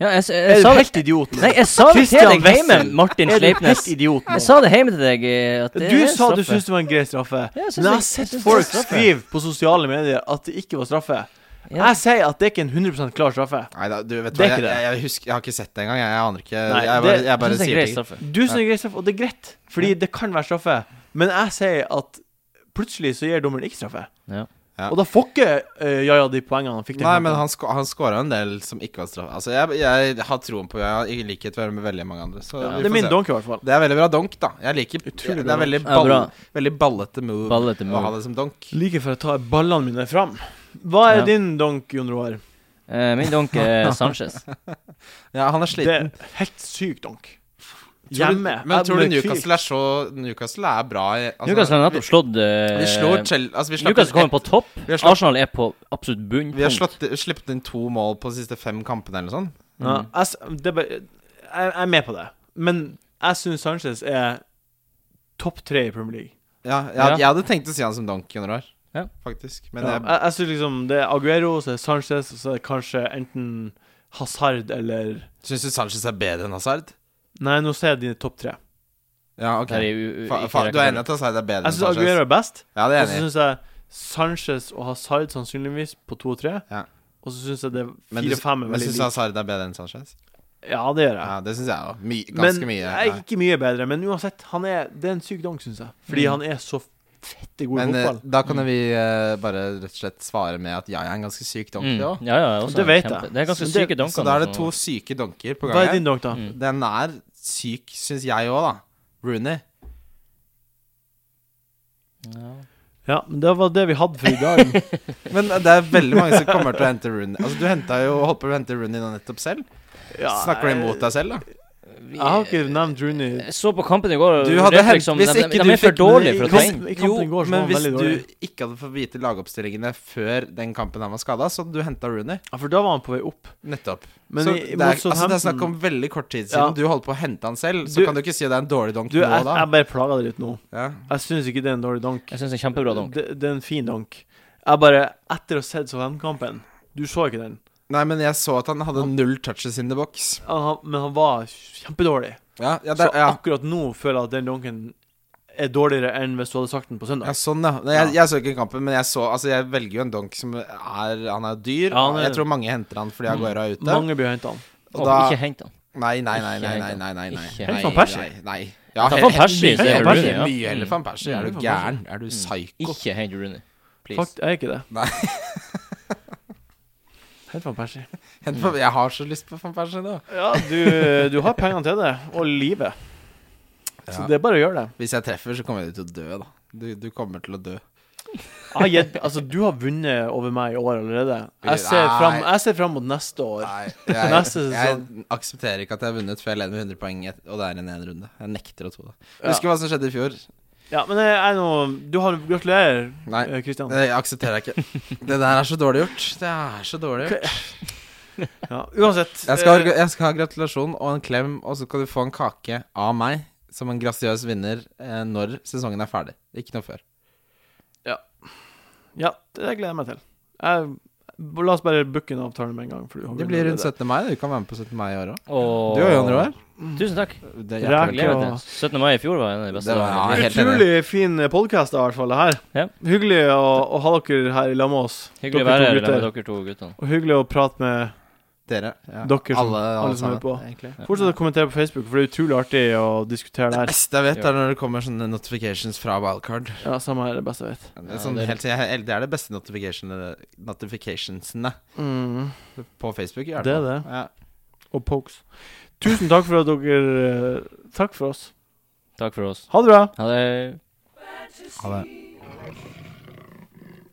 S3: Ja, jeg, jeg,
S1: Er
S3: jeg,
S1: du
S3: sa,
S1: helt
S3: det,
S1: idiot nå?
S3: nei, jeg sa det til
S1: Christian
S3: deg hjemme,
S1: Wessel.
S3: Martin
S1: Er du
S3: Sleipnes.
S1: helt idiot nå?
S3: Jeg sa det hjemme til deg. eh, At det
S1: Du
S3: er
S1: sa du
S3: straffe.
S1: syntes det var en grei straffe.
S3: Ja, jeg synes
S1: Men jeg
S3: det-
S1: har sett
S3: jeg synes det er
S1: folk
S3: straffe.
S1: skrive på sosiale medier at det ikke var straffe.
S3: Ja.
S1: Jeg sier at det er ikke en 100 klar straffe.
S2: Nei, da, du vet
S1: Det er ikke
S2: hva, jeg,
S1: det.
S2: jeg, jeg, husker, jeg har ikke sett det engang. Jeg, jeg aner ikke.
S1: Nei,
S2: jeg
S1: det-
S2: bare,
S1: jeg
S2: jeg bare
S3: synes det er en
S2: sier
S3: grei
S2: ting.
S3: straffe.
S1: Du syns det er grei straffe, og det er greit, fordi det kan være straffe. Men jeg sier at plutselig så gir dommeren ikke straffe.
S3: Ja.
S2: Ja.
S1: Og da får ikke eh, Jaja de poengene han fikk. den
S2: Nei,
S1: kampen.
S2: men han, sko han skåra en del som ikke var straff. Altså, jeg, jeg har troen på Jaja, i likhet med veldig mange andre. Så vi
S1: det er
S2: får
S1: min
S2: se.
S1: donk, i hvert fall.
S2: Det er veldig bra donk, da. Jeg liker
S1: Utrolig
S2: Det
S1: bra
S2: er
S3: donk.
S2: veldig,
S3: Ja,
S2: ball,
S3: bra.
S2: veldig ballete move,
S3: Ballete
S2: å ha
S3: move.
S2: det som donk.
S1: Like før jeg tar ballene mine fram. Hva er
S3: Ja.
S1: din donk, Jon Roar?
S3: Eh, min donk er Sanchez.
S2: Altså, Ja, han er
S1: Det
S2: sliten.
S1: er helt sykt donk.
S2: Tror du-
S1: Hjemme.
S2: Men tror du
S1: Med fyr.
S2: Newcastle er så Newcastle er bra i altså,
S3: Newcastle har nettopp slått
S2: vi,
S3: eh,
S2: vi slår Chelsea altså, vi, slapp
S3: Newcastle
S2: inn
S3: kommer på
S2: ett-
S3: topp.
S2: vi har slått,
S3: Arsenal er på absolutt
S2: vi har
S3: bunnpunkt.
S2: slått, sluppet inn to mål på de siste fem kampene eller noe sånt.
S1: Ja, jeg, s- det er bare, jeg, jeg er med på det, men jeg syns Sanchez er topp tre i Premier League.
S2: Ja, jeg,
S3: Ja.
S2: jeg hadde tenkt å si han som donk under år,
S3: Ja.
S2: faktisk. Men
S1: Ja,
S2: jeg,
S1: jeg jeg syns liksom det er Aguero, så er det Sanchez, og så er det kanskje enten Hazard eller
S2: syns du Sanchez er bedre enn Hazard?
S1: Nei, nå ser jeg dine topp tre.
S2: Ja, ok.
S3: Her i u- u-
S2: Fa,
S3: ikke
S2: fa, du er
S3: rekkefølge.
S2: enig i at Hazard er bedre
S1: Jeg
S2: enn
S1: syns
S2: Sanchez?
S1: Aguero er best,
S2: Ja, det
S1: og så
S2: er jeg enig. i.
S1: syns jeg Sanchez og Hazard sannsynligvis på to og tre.
S2: Ja.
S1: Og så syns jeg det
S2: Men du-
S1: fire-fem er
S2: Men
S1: veldig
S2: syns du
S1: likt.
S2: Hazard er bedre enn Sanchez?
S1: Ja, det gjør jeg.
S2: Ja, det syns jeg òg. My,
S1: Men
S2: ganske mye.
S1: jeg er ikke mye bedre. Men uansett, han er, det er en syk donk, syns jeg. Fordi han er så fette god i
S2: Mm. Men eh,
S1: fotball.
S2: da kan vi eh, bare rett og slett svare med at jeg er en ganske syk donk, det
S3: Mm.
S2: òg.
S3: Ja, ja, også
S1: Det vet
S3: kjempe-
S1: jeg.
S3: Det er ganske
S1: Så det-
S3: syke donker.
S2: Så da er det to syke donker på
S1: Hva er
S2: gang.
S1: din donk, da?
S3: Mm.
S2: Den er syk, syns jeg òg, da. Rooney.
S3: ja.
S1: Ja, men det var det vi hadde for i dag.
S2: Men det er veldig mange som kommer til å hente Rooney. Altså, du henta jo holdt på å hente Rooney nå nettopp selv.
S1: Ja, eh,
S2: Snakker du imot deg selv, da?
S3: Vi-
S1: Jeg har ikke nevnt Rooney.
S3: Jeg eh, så på kampen i går og
S2: Du hadde
S3: rett
S2: hent-
S3: liksom,
S2: hvis
S3: de,
S2: ikke
S3: de,
S2: du
S3: er for
S2: fikk-
S3: dårlige for å ta
S1: Hvis-
S3: inn.
S1: I kampen
S2: Jo,
S1: i går så
S2: men
S1: var han
S2: hvis
S1: veldig dårlig.
S2: du ikke hadde fått vite lagoppstillingene før den kampen han var skada, så hadde du henta Rooney.
S1: Ja, for da var han på vei opp.
S2: Nettopp.
S1: Men
S2: så
S1: i-
S2: det er,
S1: mot
S2: altså, det er
S1: Southampton-
S2: snakk om veldig kort tid
S1: Ja.
S2: siden. Du holdt på å hente han selv, så
S1: Du-
S2: kan du ikke si det er en dårlig donk
S1: Du,
S2: nå,
S1: jeg,
S2: da.
S1: jeg bare plaga deg litt nå.
S2: Ja.
S1: Jeg syns ikke det er en dårlig donk.
S3: Jeg syns det er kjempebra donk.
S1: Det, det er en fin donk. Jeg bare Etter å ha sett Southampton-kampen Du så ikke den,
S2: Nei, men jeg så at han hadde null touches in the box.
S1: han, han, men han var kjempedårlig.
S2: Ja, ja, der,
S1: så
S2: ja.
S1: akkurat nå føler jeg at den donken er dårligere enn hvis du hadde sagt den på søndag.
S2: ja sånn, ja. Nei, Jeg, jeg så ikke kampen, men jeg så Altså, jeg velger jo en donk som er Han er dyr.
S1: Ja, han er-
S2: Jeg tror mange henter han fordi Aguero er ute.
S1: Mange blir henta.
S2: og
S3: Og
S2: da
S3: ikke hent han.
S2: Nei, nei, nei,
S3: Ikke
S2: nei, nei,
S3: helt,
S2: nei, nei, nei.
S3: ikke
S2: nei,
S1: helt. Van Persie?
S2: Nei, nei. Ja,
S3: Ta
S2: he-
S3: Van
S2: he-
S3: Persie,
S2: mye
S1: så er
S2: heller-
S1: Van Persie,
S3: ja.
S2: Mye heller van Persie. Er du
S1: Van
S2: gæren? Er du psyko?
S3: Ikke hent Rooney. Please.
S1: Fakt, jeg er ikke det.
S2: Nei.
S1: Helt van Persie.
S2: Hent van- Jeg har så lyst på van Persie nå.
S1: Ja, du, du har pengene til det, og livet. Så
S2: Ja.
S1: det er bare å gjøre det.
S2: Hvis jeg treffer, så kommer jeg til å dø, da. Du, du kommer til å dø.
S1: Jeg har gitt, altså, du har vunnet over meg i år allerede. Jeg ser
S2: Nei.
S1: fram, jeg ser fram mot neste år.
S2: Nei,
S1: Neste
S2: jeg, jeg
S1: sesong.
S2: aksepterer ikke at jeg har vunnet før jeg leder med 100 poeng, et- og det er en én runde. Jeg nekter å tro det.
S1: Ja.
S2: Husker hva som skjedde i fjor?
S1: Ja, men jeg, jeg er nå Du har Gratulerer,
S2: Nei.
S1: eh, Christian.
S2: Det aksepterer jeg ikke. Det der er så dårlig gjort. Det er så dårlig gjort.
S1: Ja, uansett.
S2: Jeg skal,
S1: eh,
S2: ha- jeg skal ha gratulasjon og en klem, og så skal du få en kake av meg som en grasiøs vinner eh, når sesongen er ferdig. Ikke noe før.
S1: Ja, det gleder jeg meg til. Jeg b- La oss bare booke en avtale med en gang. For du har
S2: Det
S1: vel
S2: blir rundt
S1: allerede-
S2: 17. mai. Du kan være med på 17. mai i år òg.
S3: Og...
S2: Du og Jon Roar.
S3: Tusen takk.
S2: Det er
S1: Ræk
S2: hjertelig
S1: og-
S2: velkommen.
S3: Lever til. 17. mai i fjor var en av de beste.
S2: Det var-
S3: dagene.
S2: Ja, helt enig.
S1: Utrolig fin podkast, i hvert fall. det her
S3: Ja.
S1: Hyggelig å, å ha dere her i lag med oss.
S3: Hyggelig
S1: dere
S3: å
S1: to
S3: være her
S1: gutter.
S3: med dere to guttene.
S1: Og hyggelig å prate med
S2: dere. Ja.
S1: Dere som-
S2: alle,
S1: alle som
S2: sammen,
S1: er på.
S2: Egentlig.
S1: Fortsett å kommentere på Facebook, for det er utrolig artig å diskutere
S2: Det
S1: der.
S2: beste jeg vet, er når det kommer sånne notifications fra wildcard.
S1: Ja, Samme her, det beste jeg vet.
S2: Det er, sånn,
S3: det er-
S2: helt, jeg- det er det beste notificationene, notificationsene
S1: Mm.
S2: på Facebook. i hvert
S1: Det er
S2: fall.
S1: det.
S2: Ja.
S1: Og pokes. Tusen takk for at dere eh, Takk for oss.
S3: Takk for oss.
S1: Ha det bra.
S3: Ha det.
S2: Ha det.